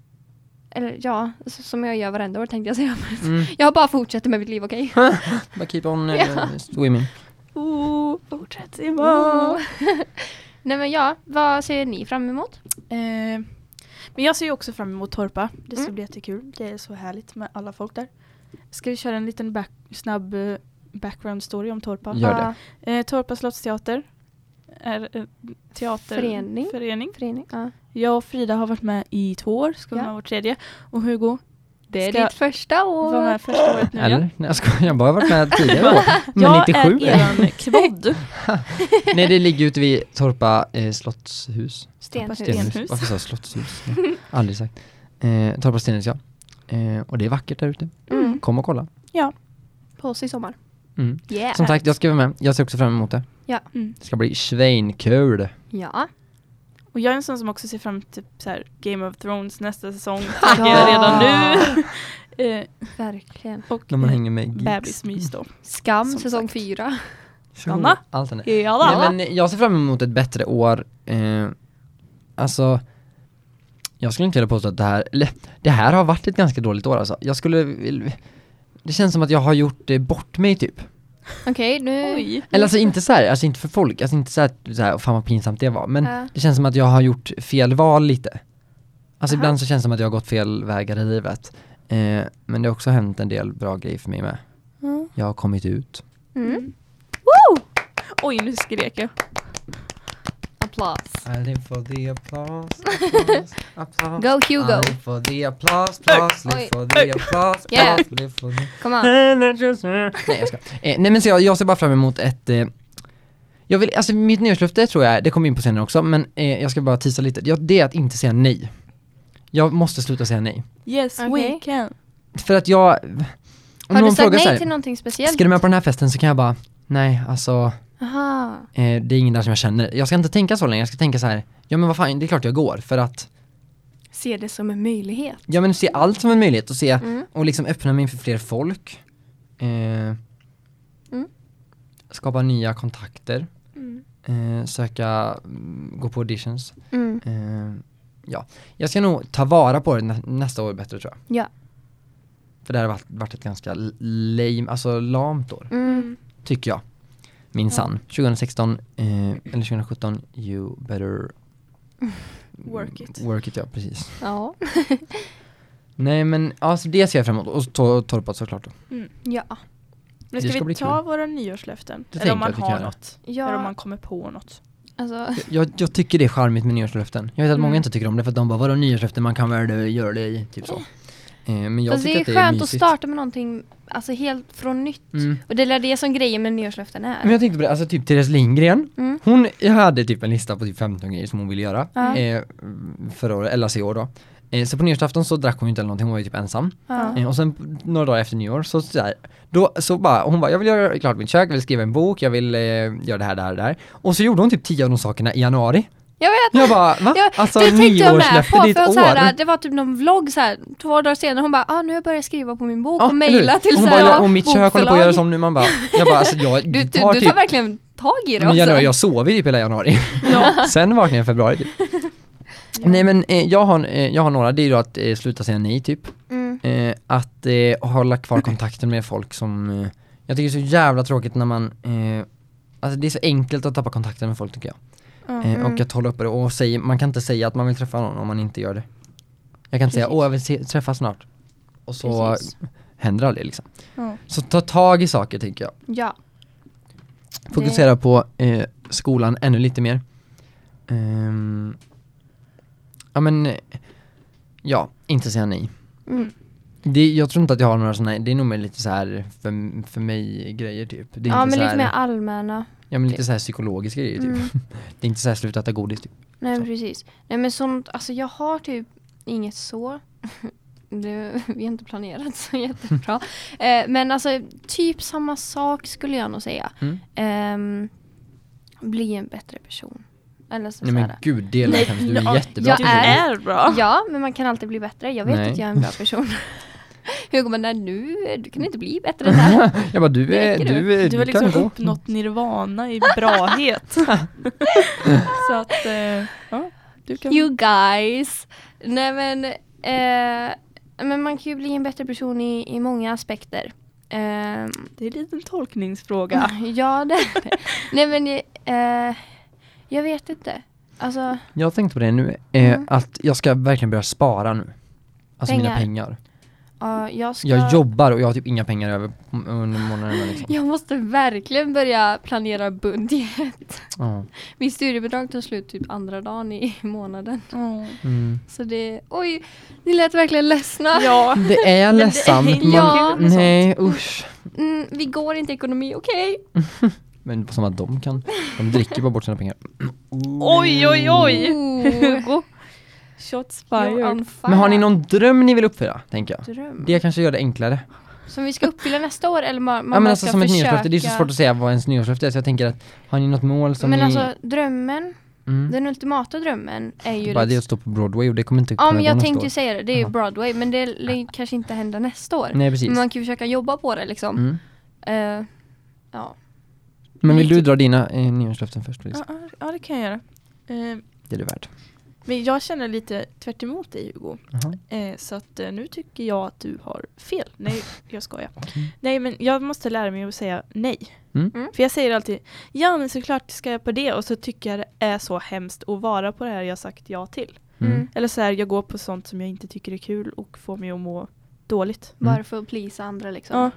S1: Eller ja, så, som jag gör varenda år tänkte jag säga. Men
S3: Mm.
S1: Jag bara fortsätter med mitt liv, okej?
S3: Bara keep on eh, swimming.
S2: Oh, fortsätt
S1: Wow.
S2: imorgon.
S1: <laughs> Nej men ja, vad ser ni fram emot?
S2: Eh, men jag ser ju också fram emot Torpa. Det ska
S1: Mm.
S2: bli jättekul. Det är så härligt med alla folk där. Ska vi köra en liten back, snabb eh, background story om Torpa?
S3: Gör det.
S1: Ja,
S2: Eh, Torpa slottsteater är en teaterförening.
S1: Förening. Förening. Ja.
S2: Jag och Frida har varit med i två år, ska vara
S1: Ja.
S2: med vårt tredje. Och Hugo,
S1: Det är
S2: ska
S1: ditt första år.
S2: vara med första året nu.
S3: Eller?
S2: ja.
S3: Nej jag skojar, jag har bara varit med tidigare
S2: <laughs>
S3: år. Men
S2: jag
S3: 97.
S2: är eran kvodd.
S3: <laughs> Nej det ligger ute vid Torpa eh, slottshus.
S1: Stenhus.
S2: Stenhus.
S3: Varför sa
S2: <laughs>
S3: jag slottshus? Ja, Aldrig sagt. Eh, Torpa stenhus ja. Eh, och det är vackert där ute.
S1: Mm.
S3: Kom och kolla.
S1: på oss i sommar.
S3: Mm.
S2: Yeah.
S3: Som sagt, jag ska vara med. Jag ser också fram emot det.
S1: Ja.
S2: Mm.
S3: Det ska bli svinkul.
S1: Ja.
S2: Och jag är en sån som också ser fram till typ så här Game of Thrones nästa
S1: <laughs>
S2: säsong. Ja. Redan nu. Eh,
S1: Verkligen.
S2: och
S3: När man hänger med geeks.
S2: bebismys då.
S1: Skam
S2: Som
S1: säsong
S2: sagt.
S1: fyra.
S2: Sanna?
S3: Allt är det.
S2: Ja,
S3: Nej, men jag ser fram emot ett bättre år. Eh, alltså, jag skulle inte vilja påstå att det här, eller, det här har varit ett ganska dåligt år alltså. Jag skulle, vil- det känns som att jag har gjort eh, bort mig typ.
S1: Okej, nu...
S2: Oj.
S3: Eller alltså inte så här, alltså inte för folk, alltså inte så här, så här fan vad pinsamt det var. Men
S1: Ja.
S3: det känns som att jag har gjort fel val lite. Alltså
S1: Aha.
S3: ibland så känns det som att jag har gått fel vägar i livet. Eh, men det har också hänt en del bra grejer för mig med.
S2: Mm.
S3: Jag har kommit ut.
S1: Mm.
S2: Woo! Oj, nu skrek jag.
S1: Applås.
S3: I live for
S1: <laughs>
S3: the applause, applause.
S1: Go Hugo.
S3: Live for the applause, applause,
S1: Oj.
S3: live for the applause,
S1: Yeah.
S3: applause, live for the...
S1: Kom on.
S3: Nej jag ska. Eh, nej men så jag, jag ser bara fram emot ett... Eh, jag vill, alltså mitt nyårslöfte tror jag, är- det kommer in på senare också, men eh, jag ska bara tisa lite. Jag, det är att inte säga nej. Jag måste sluta säga nej.
S2: Yes,
S1: Okej.
S2: we can.
S3: För att jag... Om
S1: Har du sagt nej
S3: så här,
S1: till någonting speciellt?
S3: ska du med på den här festen så kan jag bara, nej alltså,
S1: Aha.
S3: eh, det är ingen där som jag känner. Jag ska inte tänka så länge, jag ska tänka så här, ja men vad fan, det är klart jag går, för att
S1: Se det som en möjlighet.
S3: Ja men se allt som en möjlighet och se
S1: Mm.
S3: och liksom öppna mig för fler folk. Eh, Skapa nya kontakter.
S2: Mm.
S3: Eh, söka, mm, gå på auditions.
S1: Mm.
S3: Eh, ja, jag ska nog ta vara på det nä- nästa år bättre tror jag.
S1: Ja.
S3: För det här har varit, varit ett ganska l- lame, alltså lamt år,
S1: Mm.
S3: tycker jag. Minsann. 2016, eh, eller 2017, you better
S2: <laughs> Work it.
S3: work it ja, precis.
S1: Ja.
S3: Nej men alltså det ser jag fram emot och to- torpat såklart då.
S1: Ja.
S2: Nu
S3: Det
S2: Mm. ska,
S3: ska bli
S2: vi ta
S3: kul.
S2: våra nyårslöften.
S3: Det
S2: eller om
S3: tänker jag
S2: man
S3: att vi
S2: har
S3: kan göra.
S2: något. Eller om
S1: Ja.
S2: man kommer på något.
S1: Alltså.
S3: Jag, jag tycker det är charmigt med nyårslöften. Jag vet att
S2: Mm.
S3: många inte tycker om det för att de bara vadå nyårslöften man kan väl eh, göra det i", typ så. Eh, men jag
S1: Fast det
S3: tycker
S1: är
S3: att det är
S1: skönt att
S3: mysigt.
S1: starta med någonting alltså helt från nytt.
S3: Mm.
S1: Och det är det som grejen med nyårslöften är.
S3: Men jag tänkte på det, alltså typ Therese Lindgren,
S1: Mm.
S3: hon hade typ en lista på typ 15 grejer som hon ville göra
S1: Ja.
S3: eh, förra året, eller alltså i år då. Eh, så på nyårsafton så drack hon ju inte eller någonting, hon var ju typ ensam.
S1: Ja.
S3: Eh, och sen några dagar efter nyår så sådär, då så bara, hon bara jag vill göra klart mitt kök, jag vill skriva en bok, jag vill eh, göra det här, det här, det här. Och så gjorde hon typ 10 av de sakerna i januari.
S1: Jag vet!
S3: Jag bara, va?
S1: Ja,
S3: alltså
S1: det tänkte jag med
S3: nyårslöfte,
S1: på,
S3: ditt
S1: för
S3: år.
S1: hon så här, det var typ någon vlogg så här, två dagar senare, hon bara ah, nu har jag börjat skriva på min bok
S3: Ja,
S1: och
S3: eller hur?
S1: mejla till
S3: hon
S1: så här,
S3: bara, ja, och mitt kök håller på att
S1: bokförlag."
S3: göra som nu, man bara, jag bara alltså
S1: <laughs>
S3: jag
S1: du, du,
S3: tar
S1: du
S3: typ
S1: tar verkligen tag i det
S3: men
S1: också.
S3: januari, jag sov ju typ hela januari. <laughs> Sen vaknade jag i februari typ. Nej men eh, jag, har, eh, jag har några, det är ju då att eh, sluta säga nej typ.
S1: Mm.
S3: Eh, att eh, hålla kvar kontakten med folk som, eh, jag tycker det är så jävla tråkigt när man, eh, alltså det är så enkelt att tappa kontakten med folk tycker jag. Eh,
S1: Mm.
S3: Och att hålla uppe det och säga, man kan inte säga att man vill träffa någon om man inte gör det. Jag kan inte säga,
S2: Precis.
S3: åh jag vill se, träffa snart. Och så
S2: Precis.
S3: händer aldrig liksom.
S2: Ja.
S3: Så ta tag i saker tänker jag.
S1: Ja.
S3: Fokusera på eh, skolan ännu lite mer. Ehm, ja men, eh, ja, inte säga nej.
S1: Mm.
S3: Det, jag tror inte att jag har några sådana, det är nog mer lite så här för, för mig grejer typ. Det är
S1: Ja
S3: inte
S1: men
S3: så
S1: lite
S3: här,
S1: mer allmänna.
S3: ja men lite så här psykologiska grejer typ.
S1: Mm.
S3: <laughs> Det är inte så här sluta äta godis typ.
S1: Nej
S3: Så.
S1: precis. Nej men sånt, alltså jag har typ inget så. <laughs> Det, vi har inte planerat så <laughs> jättebra. Eh, men alltså typ samma sak skulle jag nog säga.
S3: Mm.
S1: Ehm, bli en bättre person. Eller så,
S3: Nej
S1: så
S3: men
S1: här.
S3: gud det lät
S2: Nej,
S3: hemskt, du
S2: ja,
S3: är jättebra.
S1: jag
S2: Du
S3: på det.
S1: är-
S2: är bra.
S1: Ja men man kan alltid bli bättre. Jag vet
S3: Nej.
S1: att jag är en bra person. <laughs> Hur går man där nu? Du kan inte bli bättre än det här.
S3: <laughs> <laughs>
S1: <laughs>
S3: Jag bara du
S1: Det
S3: är,
S1: räcker
S3: du, är- du,
S2: Du har liksom
S3: kan gå. <laughs>
S2: uppnått nirvana i brahet. så att, eh, ja, du kan...
S1: You guys! Nej men, eh, men man kan ju bli en bättre person i, i många aspekter. Ehm,
S2: Det är en liten <laughs> tolkningsfråga.
S1: <laughs> Ja, det är det. Nej men eh, jag vet inte. Alltså,
S3: Jag tänkte på det nu, eh,
S1: Mm.
S3: att jag ska verkligen börja spara nu. Alltså mina
S1: Pengar.
S3: pengar.
S1: ja, jag ska...
S3: Jag jobbar och jag har typ inga pengar över m- under månaden liksom.
S1: Jag måste verkligen börja planera budget.
S3: Ja.
S1: Mitt studiebidrag tar slut typ andra dagen i månaden.
S2: <laughs> Ja.
S3: Mm.
S1: Så det, oj, ni lät verkligen ledsna.
S2: Ja.
S3: Det är ledsamt.
S2: inte
S1: <laughs>
S3: Man,
S1: Ja.
S2: kul med
S3: Nej usch.
S1: Mm, vi går inte i ekonomi, okej?
S3: Men som att de kan, de dricker bara bort sina pengar.
S2: Oj, oj, oj! <laughs>
S1: Oh,
S2: Shots
S1: you're
S2: fired.
S1: on fire.
S3: Men har ni någon dröm ni vill uppfylla, tänker jag?
S1: dröm?
S3: Det kanske gör det enklare.
S1: Som vi ska uppfylla nästa år eller man, man
S3: ja men
S1: bara
S3: alltså
S1: ska
S3: som ett
S1: försöka...
S3: nyårslöfte, det är så svårt att säga vad ens nyårslöfte är så jag tänker att har ni något mål som
S1: Men
S3: ni...
S1: alltså drömmen,
S3: mm,
S1: den ultimata drömmen är ju...
S3: bara det
S1: liksom-
S3: att stå på Broadway och det kommer inte
S1: Ja
S3: kunna
S1: men
S3: gå
S1: jag
S3: nästa
S1: tänkte
S3: år.
S1: ju säga det, det är ju
S3: Jaha.
S1: Broadway men det lär kanske inte hända nästa år.
S3: Nej precis.
S1: Men man kan ju försöka jobba på det liksom.
S3: Mm.
S1: Eh, ja.
S3: Men vill du
S2: Vilket-
S3: dra dina eh, nyårslöften först? Lisa?
S2: Ja, ja, ja, det kan jag göra. Eh,
S3: Det är du värd.
S2: men jag känner lite tvärt emot dig Hugo.
S3: Jaha.
S2: Eh, så att eh, nu tycker jag att du har fel. Nej, jag skojar.
S3: Okej.
S2: Nej, men jag måste lära mig att säga nej.
S3: Mm.
S1: Mm.
S2: För jag säger alltid, ja men såklart ska jag på det. Och så tycker jag det är så hemskt att vara på det här jag sagt ja till.
S3: Mm.
S1: Mm.
S2: Eller så här, jag går på sånt som jag inte tycker är kul och får mig att må dåligt.
S3: Mm.
S1: Bara för att pleasa andra liksom.
S2: Ja,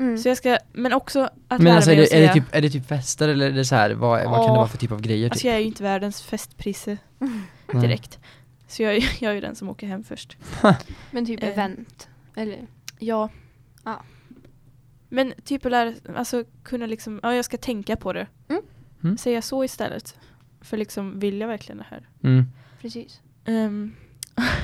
S1: Mm.
S2: så jag ska, men också att
S3: Men
S2: lära
S3: alltså är
S2: mig att
S3: det, är,
S2: säga,
S3: det typ, är det typ fester eller är det så här, vad, vad kan
S2: Ja.
S3: det vara för typ av grejer?
S2: alltså
S3: Typ? Mm.
S2: jag är ju inte världens festprisse
S3: Nej.
S2: direkt. Så jag, <laughs> är- jag är ju den som åker hem först.
S1: <laughs> Men typ
S2: Eh.
S1: event. Eller?
S2: Ja.
S1: Ja.
S2: Men typ att lära, alltså kunna liksom, ja jag ska tänka på det.
S1: Mm.
S3: Mm.
S2: Säga så istället. För liksom, vill jag verkligen det här?
S3: Mm.
S1: Precis.
S2: Ehm, <laughs>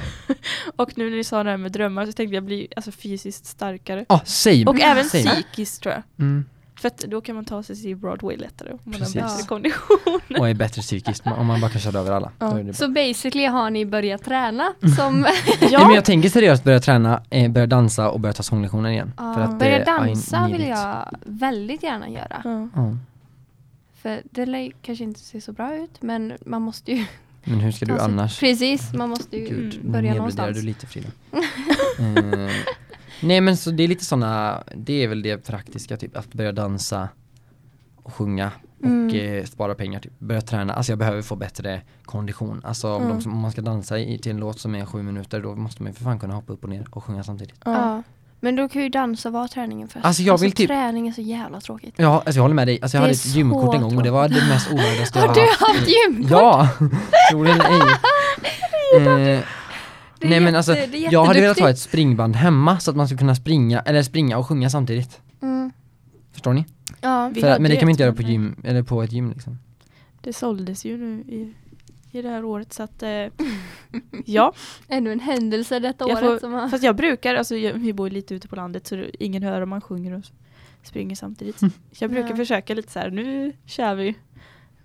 S2: och nu när ni sa det här med drömmar så tänkte jag bli alltså, fysiskt starkare.
S3: Ah, same!
S2: Och även
S3: same.
S2: psykiskt tror jag.
S3: Mm.
S2: För att då kan man ta sig till Broadway lättare om man
S3: Precis.
S2: har bättre
S1: Ja.
S2: kondition.
S3: Och är bättre psykiskt om man bara kan köra över alla.
S2: Ja.
S3: Då är det bra.
S1: Så basically har ni börjat
S3: <laughs>
S1: träna som...
S3: Nej, men
S2: ja,
S3: jag tänker seriöst börja träna, eh, börja dansa och börja ta sånglektioner igen.
S1: <laughs> Ja,
S3: För att, eh,
S1: börja
S3: I
S1: dansa
S3: need
S1: vill
S3: it.
S1: jag väldigt gärna göra.
S2: ja.
S3: Ja.
S1: För det lär ju kanske inte se så bra ut men man måste ju...
S3: Men hur ska du
S1: ta sig-
S3: annars?
S1: Precis, man måste ju
S3: Gud,
S2: Mm.
S3: nu
S1: börja
S3: nedvärderar
S1: någonstans.
S3: du
S1: <laughs>
S3: lite Frida. eh, nej men så det är lite sådana, det är väl det praktiska typ, att börja dansa och sjunga och
S1: Mm.
S3: eh, spara pengar typ. Börja träna, alltså jag behöver få bättre kondition. Alltså om,
S2: Mm.
S3: de som, om man ska dansa i, till en låt som är sju minuter då måste man ju för fan kunna hoppa upp och ner och sjunga samtidigt.
S2: Ja.
S1: Ja. Men då kan ju dansa vara träningen först.
S3: Alltså, jag vill typ-
S1: träning är så jävla tråkigt.
S3: Ja, alltså jag håller med dig. Alltså jag
S1: Det
S3: hade
S1: är
S3: ett gymkort
S1: så
S3: en gång och det var det mest ovärdigaste jag
S1: Har du haft gym?
S3: Ja, <laughs> tror det
S1: <laughs>
S3: eller ej. Eh,
S1: Det är
S3: nej men alltså,
S1: jätte- det är
S3: jag hade velat
S1: jätteduktigt.
S3: ha ett springband hemma så att man skulle kunna springa, eller springa och sjunga samtidigt.
S1: Mm.
S3: Förstår ni?
S1: Ja.
S2: Vi
S3: För, att-
S2: hade
S3: men det
S2: ju
S3: kan
S2: ett
S3: man inte göra på
S2: sånt där.
S3: gym, eller på ett gym liksom.
S2: Det såldes ju nu i, i det här året så att eh, ja.
S1: Ännu en händelse detta
S2: Jag
S1: året
S2: får-
S1: som har...
S2: Fast jag brukar, alltså jag, vi bor ju lite ute på landet så det- ingen hör om man sjunger och s- springer samtidigt.
S3: Mm.
S2: Jag brukar
S1: Ja.
S2: försöka lite så här, nu kör vi.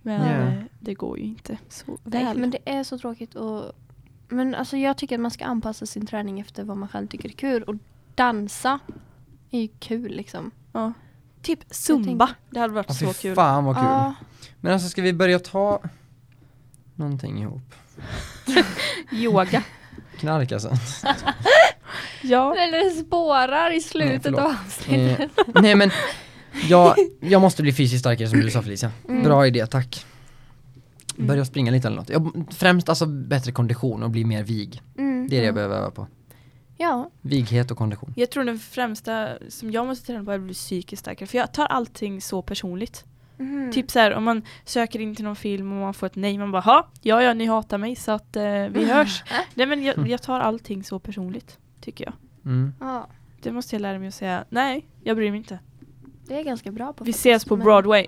S2: Men
S3: Ja.
S2: eh, det går ju inte så
S1: Nej,
S2: väl.
S1: men det är så tråkigt och... Men alltså jag tycker att man ska anpassa sin träning efter vad man själv tycker är kul och dansa är ju kul liksom.
S2: ja. Typ zumba, det hade varit
S3: Åh,
S2: så
S3: fy
S2: kul.
S3: fan vad kul.
S1: Ja,
S3: Men alltså ska vi börja ta någonting ihop?
S1: <laughs>
S2: Yoga.
S3: Knark alltså.
S2: Ja.
S1: eller det spårar i slutet
S3: förlåt.
S1: av avsnittet.
S3: Eh, nej men, jag, jag måste bli fysiskt starkare som du sa Felicia. Bra idé, tack.
S2: Mm.
S3: Börja springa lite eller något. Jag, främst alltså bättre kondition och bli mer vig.
S1: Mm.
S3: Det är det
S2: Ja.
S3: jag behöver öva på.
S1: Ja,
S3: Vighet och kondition.
S2: Jag tror den främsta som jag måste träna på är att bli psykiskt starkare. För jag tar allting så personligt.
S1: mm.
S2: Typ så här, om man söker in till någon film och man får ett nej, man bara "Ha, ja ja ni hatar mig så att eh, vi
S1: Mm.
S2: hörs. nej men jag, jag tar allting så personligt, tycker jag.
S3: Mm.
S1: <laughs> ja,
S2: Det måste jag lära mig att säga, nej, jag bryr mig inte.
S1: det är jag ganska bra på.
S2: Vi
S1: faktiskt,
S2: ses på
S1: men-
S2: Broadway.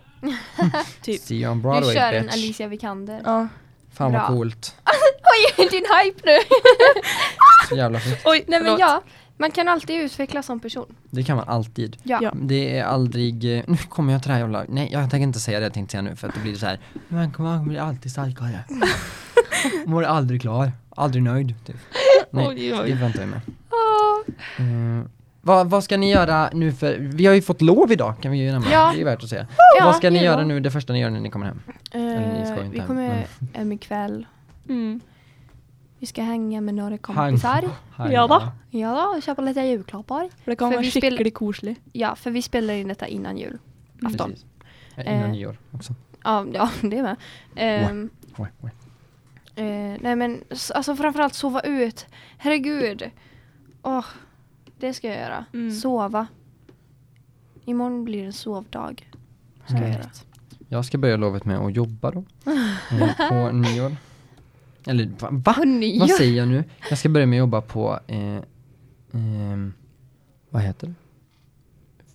S2: typ.
S3: See you on
S1: Du
S3: Broadway
S1: kör en
S3: bitch.
S1: Alicia Vikander.
S2: Ja.
S3: Fan vad
S1: Bra.
S3: coolt.
S1: Oj, <laughs> din hype
S2: <laughs>
S1: nu!
S3: Så jävla fint.
S2: Oj,
S1: Nej men ja, man kan alltid utvecklas som person.
S3: Det kan man alltid.
S1: Ja.
S2: Ja.
S3: Det är aldrig, eh, nu kommer jag till det här jävla, nej jag tänker inte säga det jag tänkte säga nu för att det blir så här. Man kommer man blir
S2: <laughs>
S3: alltid starkare. Mår aldrig klar, aldrig nöjd. Typ. Nej,
S2: Oj,
S3: så
S2: oj.
S3: det väntar jag med.
S1: Åh.
S3: Eh, vad, vad ska ni göra nu för, vi har ju fått lov idag kan vi ju nämna,
S1: Ja.
S3: det är värt att säga.
S1: Ja,
S3: vad ska ni
S1: det är
S3: göra
S1: bra.
S3: nu, det första ni gör när ni kommer hem? Eller ni ska
S1: Eh,
S3: inte
S1: vi
S3: hem,
S1: kommer hem ikväll.
S2: Mm.
S1: Vi ska hänga med några
S3: <laughs>
S1: kompisar.
S3: Hang,
S2: Ja, va?
S1: Ja, och köpa lite julklappar.
S2: Det
S1: För
S2: kommer vara
S1: vi spelar-
S2: skicklig koslig.
S1: Ja, för vi spelar in detta innan jul. Afton.
S3: Precis. Eh, Innan
S1: Eh.
S3: nyår också.
S1: Ja, ja <laughs> det med. Ehm,
S3: Oj, oj.
S1: eh, nej men s- alltså framförallt sova ut. Herregud. Åh, det ska jag göra.
S2: Mm.
S1: Sova. Imorgon blir det en sovdag. Ska jag
S3: Mm.
S1: göra.
S3: Jag ska börja lovet med att jobba då. eh, på nyår. Eller va? va?
S1: På nyår?
S3: Vad säger jag nu? Jag ska börja med att jobba på, eh, ehm, vad heter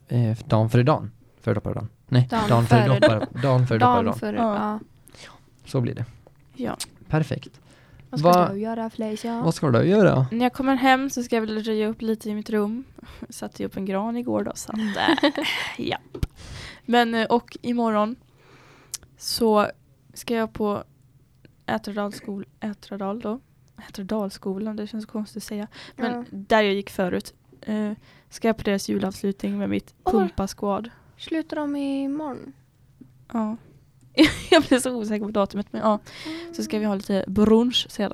S3: det? Eh, dagen före dagen. Före doppare dagen. Nej,
S1: Dagen
S3: dagen, före
S1: före
S3: doppare dagen. före doppare
S1: Dagen
S3: dagen.
S1: före,
S2: Ja.
S1: ja.
S3: Så blir det.
S2: Ja.
S3: Perfekt.
S1: Vad ska
S3: Vad-
S1: du göra Felicia? <laughs>
S3: Vad ska du göra?
S2: När jag kommer hem så ska jag väl röja upp lite i mitt rum. <laughs> Satte ju upp en gran igår då, så att, eh, ja. Men eh, och imorgon så ska jag på Ätradalskol, Ätradal då. Ätradalskolan, det känns konstigt att säga. Men
S1: Ja.
S2: där jag gick förut. Eh, ska jag på deras julavslutning med mitt
S1: Åh.
S2: pumpasquad.
S1: Slutar de imorgon?
S2: Ja. <laughs> jag blir så osäker på datumet men ja. Så ska vi ha lite brunch sedan.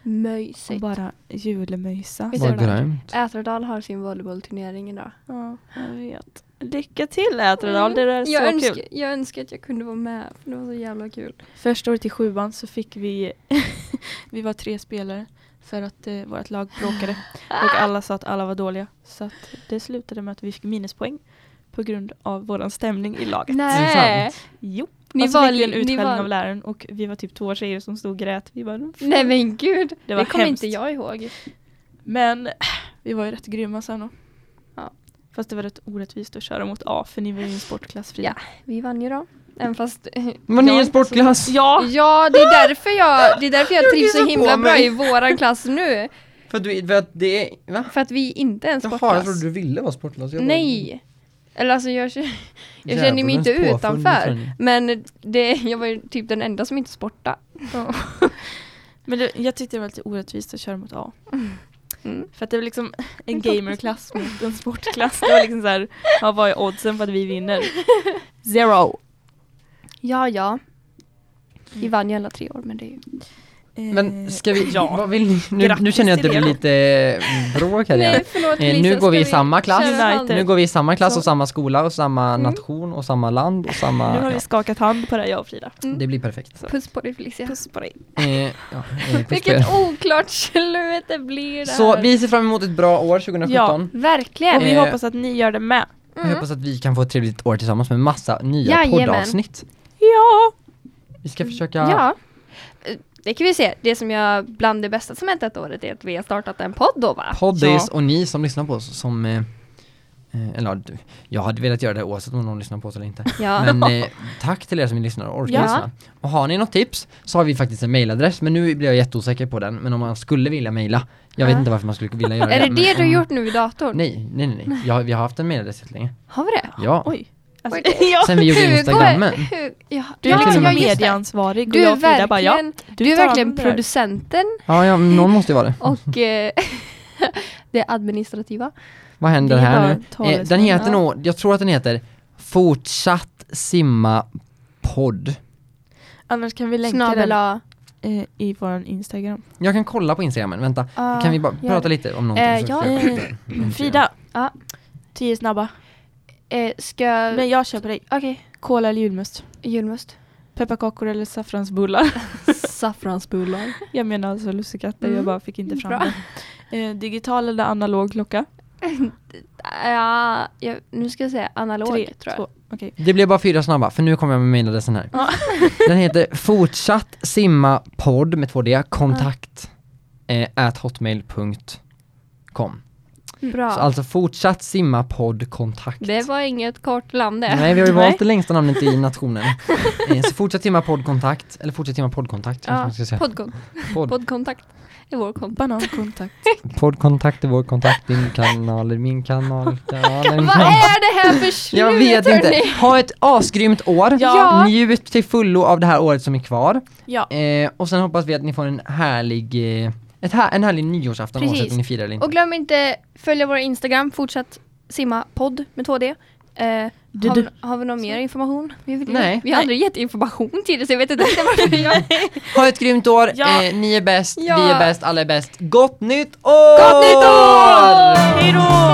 S2: Och
S1: Mysigt.
S2: bara julmysa.
S1: Visst är
S3: Vad
S1: det där?
S3: grymt.
S1: Ätradal har sin volleybollturnering idag.
S2: Ja, jag vet. Lycka till Ätradal, det är så
S1: Mm. jag,
S2: kul.
S1: önskar, jag önskar att jag kunde vara med, för det var så jävla kul.
S2: Första året i sjuan så fick vi, <laughs> vi var tre spelare för att eh, vårt lag bråkade. Och alla sa att alla var dåliga. Så att det slutade med att vi fick minuspoäng på grund av våran stämning i laget.
S1: Nej.
S2: Jo.
S1: Ni
S3: Alltså,
S2: och så
S1: var
S2: fick vi en
S1: li- ni
S2: utskällning
S1: var-
S2: av läraren och vi var typ två tjejer som stod och grät. Vi bara,
S1: Nej men gud, det,
S2: Det var
S1: kommer
S2: hemskt.
S1: inte jag ihåg.
S2: Men vi var ju rätt grymma sen då.
S1: Ja.
S2: Fast det var rätt orättvist att köra mot A för ni var ju en sportklass fri.
S1: Ja. Vi vann ju då. Även fast...
S3: Men ni är
S1: Jag
S3: en
S1: inte så-
S2: <laughs>
S3: sportklass!
S2: Ja!
S1: Ja, det är därför jag, det är därför Ah. jag
S3: Jag
S1: trivs så
S3: kissar på
S1: himla bra
S3: mig.
S1: i våran klass nu.
S3: För att du, för att det är, va?
S1: För att vi inte är en sportklass.
S3: Jaha, jag trodde du ville vara sportklass. Jag bara-
S1: Nej! Eller alltså jag, känner- jag
S3: Djävulens
S1: känner mig inte
S3: påfund,
S1: utanför.
S3: känner
S1: Men det, jag var ju typ den enda som inte sportade.
S2: Men det, jag tyckte det var lite orättvist att köra mot A.
S1: Mm.
S2: För att det var liksom <laughs> en
S1: En klass.
S2: gamerklass mot en sportklass. Det var liksom såhär, ja, vad är oddsen på att vi vinner? <laughs> Zero.
S1: Ja, ja. Vi vann ju alla tre år men det är ju...
S2: Eh,
S3: Men ska vi,
S2: Ja.
S3: vad vill ni? Nu, nu
S2: Grattis
S3: känner jag att det
S2: till
S3: blir
S2: er.
S3: lite bråk här igen.
S1: Nej förlåt
S3: Eh, nu
S1: Lisa,
S3: går vi i
S1: ska
S3: samma klass.
S1: köra Mm.
S2: United.
S1: hand?
S3: Nu går vi i samma klass
S2: Så-
S3: och samma skola och samma nation och samma land och samma...
S2: Nu har vi skakat hand på det här jag och Frida.
S1: mm.
S3: ja, det blir perfekt.
S1: Puss på dig Felicia.
S2: Puss på dig.
S3: Eh, ja,
S1: <laughs>
S3: eh, puss på
S1: Vilket
S3: er.
S1: oklart slut det blir det
S3: Så
S1: här.
S3: vi ser fram emot ett bra år 2017.
S1: Verkligen. Mm.
S2: Och vi
S3: Eh.
S2: hoppas att ni gör det med.
S3: Jag hoppas att vi kan få ett trevligt år tillsammans med massa nya
S1: Jajamän.
S3: poddavsnitt.
S2: Ja!
S3: Vi ska försöka...
S1: Ja. Eh, Det kan vi se. Det som jag, bland det bästa som hänt detta året är att vi har startat en podd då va?
S3: Poddis
S2: Ja.
S3: och ni som lyssnar på oss som... Eh, eh, eller ja, du- jag hade velat göra det oavsett om någon lyssnar på oss eller inte.
S1: Ja.
S3: Men
S1: <laughs>
S3: eh, tack till er som lyssnar och orkar
S1: Ja.
S3: lyssna. Och har ni något tips så har vi faktiskt en mailadress men nu blir jag jätteosäker på den. Men om man skulle vilja mejla, jag vet
S1: Ja.
S3: inte varför man skulle vilja göra
S1: är det
S3: men
S1: det du
S3: om-
S1: har gjort nu i datorn?
S3: Mm. Nej, nej, nej. nej. Jag, vi har haft en mailadress jättelänge.
S1: Har vi det?
S3: Ja.
S2: Oj. Alltså,
S1: <gasps> Oj.
S2: ja.
S3: Sen vi gjorde
S1: Hugo-
S3: instagrammen.
S1: Hu- Ja,
S2: <laughs> Du är
S1: ja,
S2: liksom
S1: ja, just det.
S2: medieansvarig och
S1: Du
S2: jag
S1: är
S2: och Frida bara ja.
S1: verkligen, du är
S2: tar
S1: verkligen
S2: hand om det här.
S1: producenten
S3: Ja, ja, men någon måste ju vara det.
S1: och eh, <laughs> det administrativa.
S3: Vad händer
S2: Vi är bara
S3: här nu? Eh,
S2: talesmän,
S3: den heter
S1: ja.
S3: nog, jag tror att den heter Fortsatt simma podd.
S2: Annars kan vi länka
S1: Snabel A.
S2: den eh, i vår Instagram.
S3: Jag kan kolla på instagrammen, vänta. kan vi bara
S1: gör
S3: prata
S1: det.
S3: lite om någonting?
S1: Eh,
S3: så
S1: ja.
S3: ska jag- Mm.
S2: Frida.
S1: Ja.
S2: Tio snabba.
S1: Eh, ska...
S2: Men jag köper dig.
S1: Okej,
S2: Kola eller julmust? <laughs>
S1: julmust.
S2: Pepparkakor eller saffransbullar?
S1: Saffransbullar.
S2: <laughs> jag menar alltså lussekatter,
S1: Mm.
S2: jag bara fick inte fram
S1: Bra.
S2: det. Eh, digital eller analog klocka?
S1: Ja, jag, nu ska jag säga analog
S2: Tre,
S1: tror jag.
S2: två, okej.
S3: Det blev bara fyra snabba, för nu kommer jag med mailadressen här.
S2: Ja.
S3: <laughs> Den heter Fortsatt simma podd med två D, kontakt eh, at hotmail.com.
S1: Bra.
S3: Så alltså fortsatt simma podd kontakt.
S1: Det var inget kort namn det.
S3: Nej,
S1: <laughs>
S3: vi har ju
S2: Nej.
S3: valt det längsta namnet i nationen. Eh, så fortsätt timma poddkontakt, eller fortsätt timma poddkontakt.
S1: Ja,
S3: Ja. Ska säga.
S1: Poddkon
S3: Podd.
S1: poddkontakt är vår
S3: <laughs>
S1: kontakt.
S2: Banankontakt.
S3: poddkontakt är vår kontakt, din kanal är min
S1: <laughs>
S3: kanal. kanalen
S1: Vad
S3: kan-
S1: är det här för slut
S3: <laughs> Jag vet inte.
S1: hörni?
S3: Ha ett asgrymt år.
S1: Ja.
S3: Njut till fullo av det här året som är kvar.
S2: Ja.
S3: Eh, och sen hoppas vi att ni får en härlig, eh, ett här, en härlig nyårsafton
S1: Precis.
S3: oavsett om ni firar eller inte.
S1: Och glöm inte följa vår Instagram, fortsatt simma podd med 2D. Eh,
S2: Du,
S1: har,
S2: du.
S1: vi- har vi någon mer information? Vi, vet,
S3: Nej.
S1: vi har aldrig gett information till det så jag vet inte <laughs> varför jag...
S3: Ha ett grymt år,
S2: Ja.
S3: eh, ni är bäst,
S1: Ja.
S3: vi är bäst, alla är bäst. Gott nytt år!
S1: Gott nytt år!
S2: Hej då!
S1: <laughs>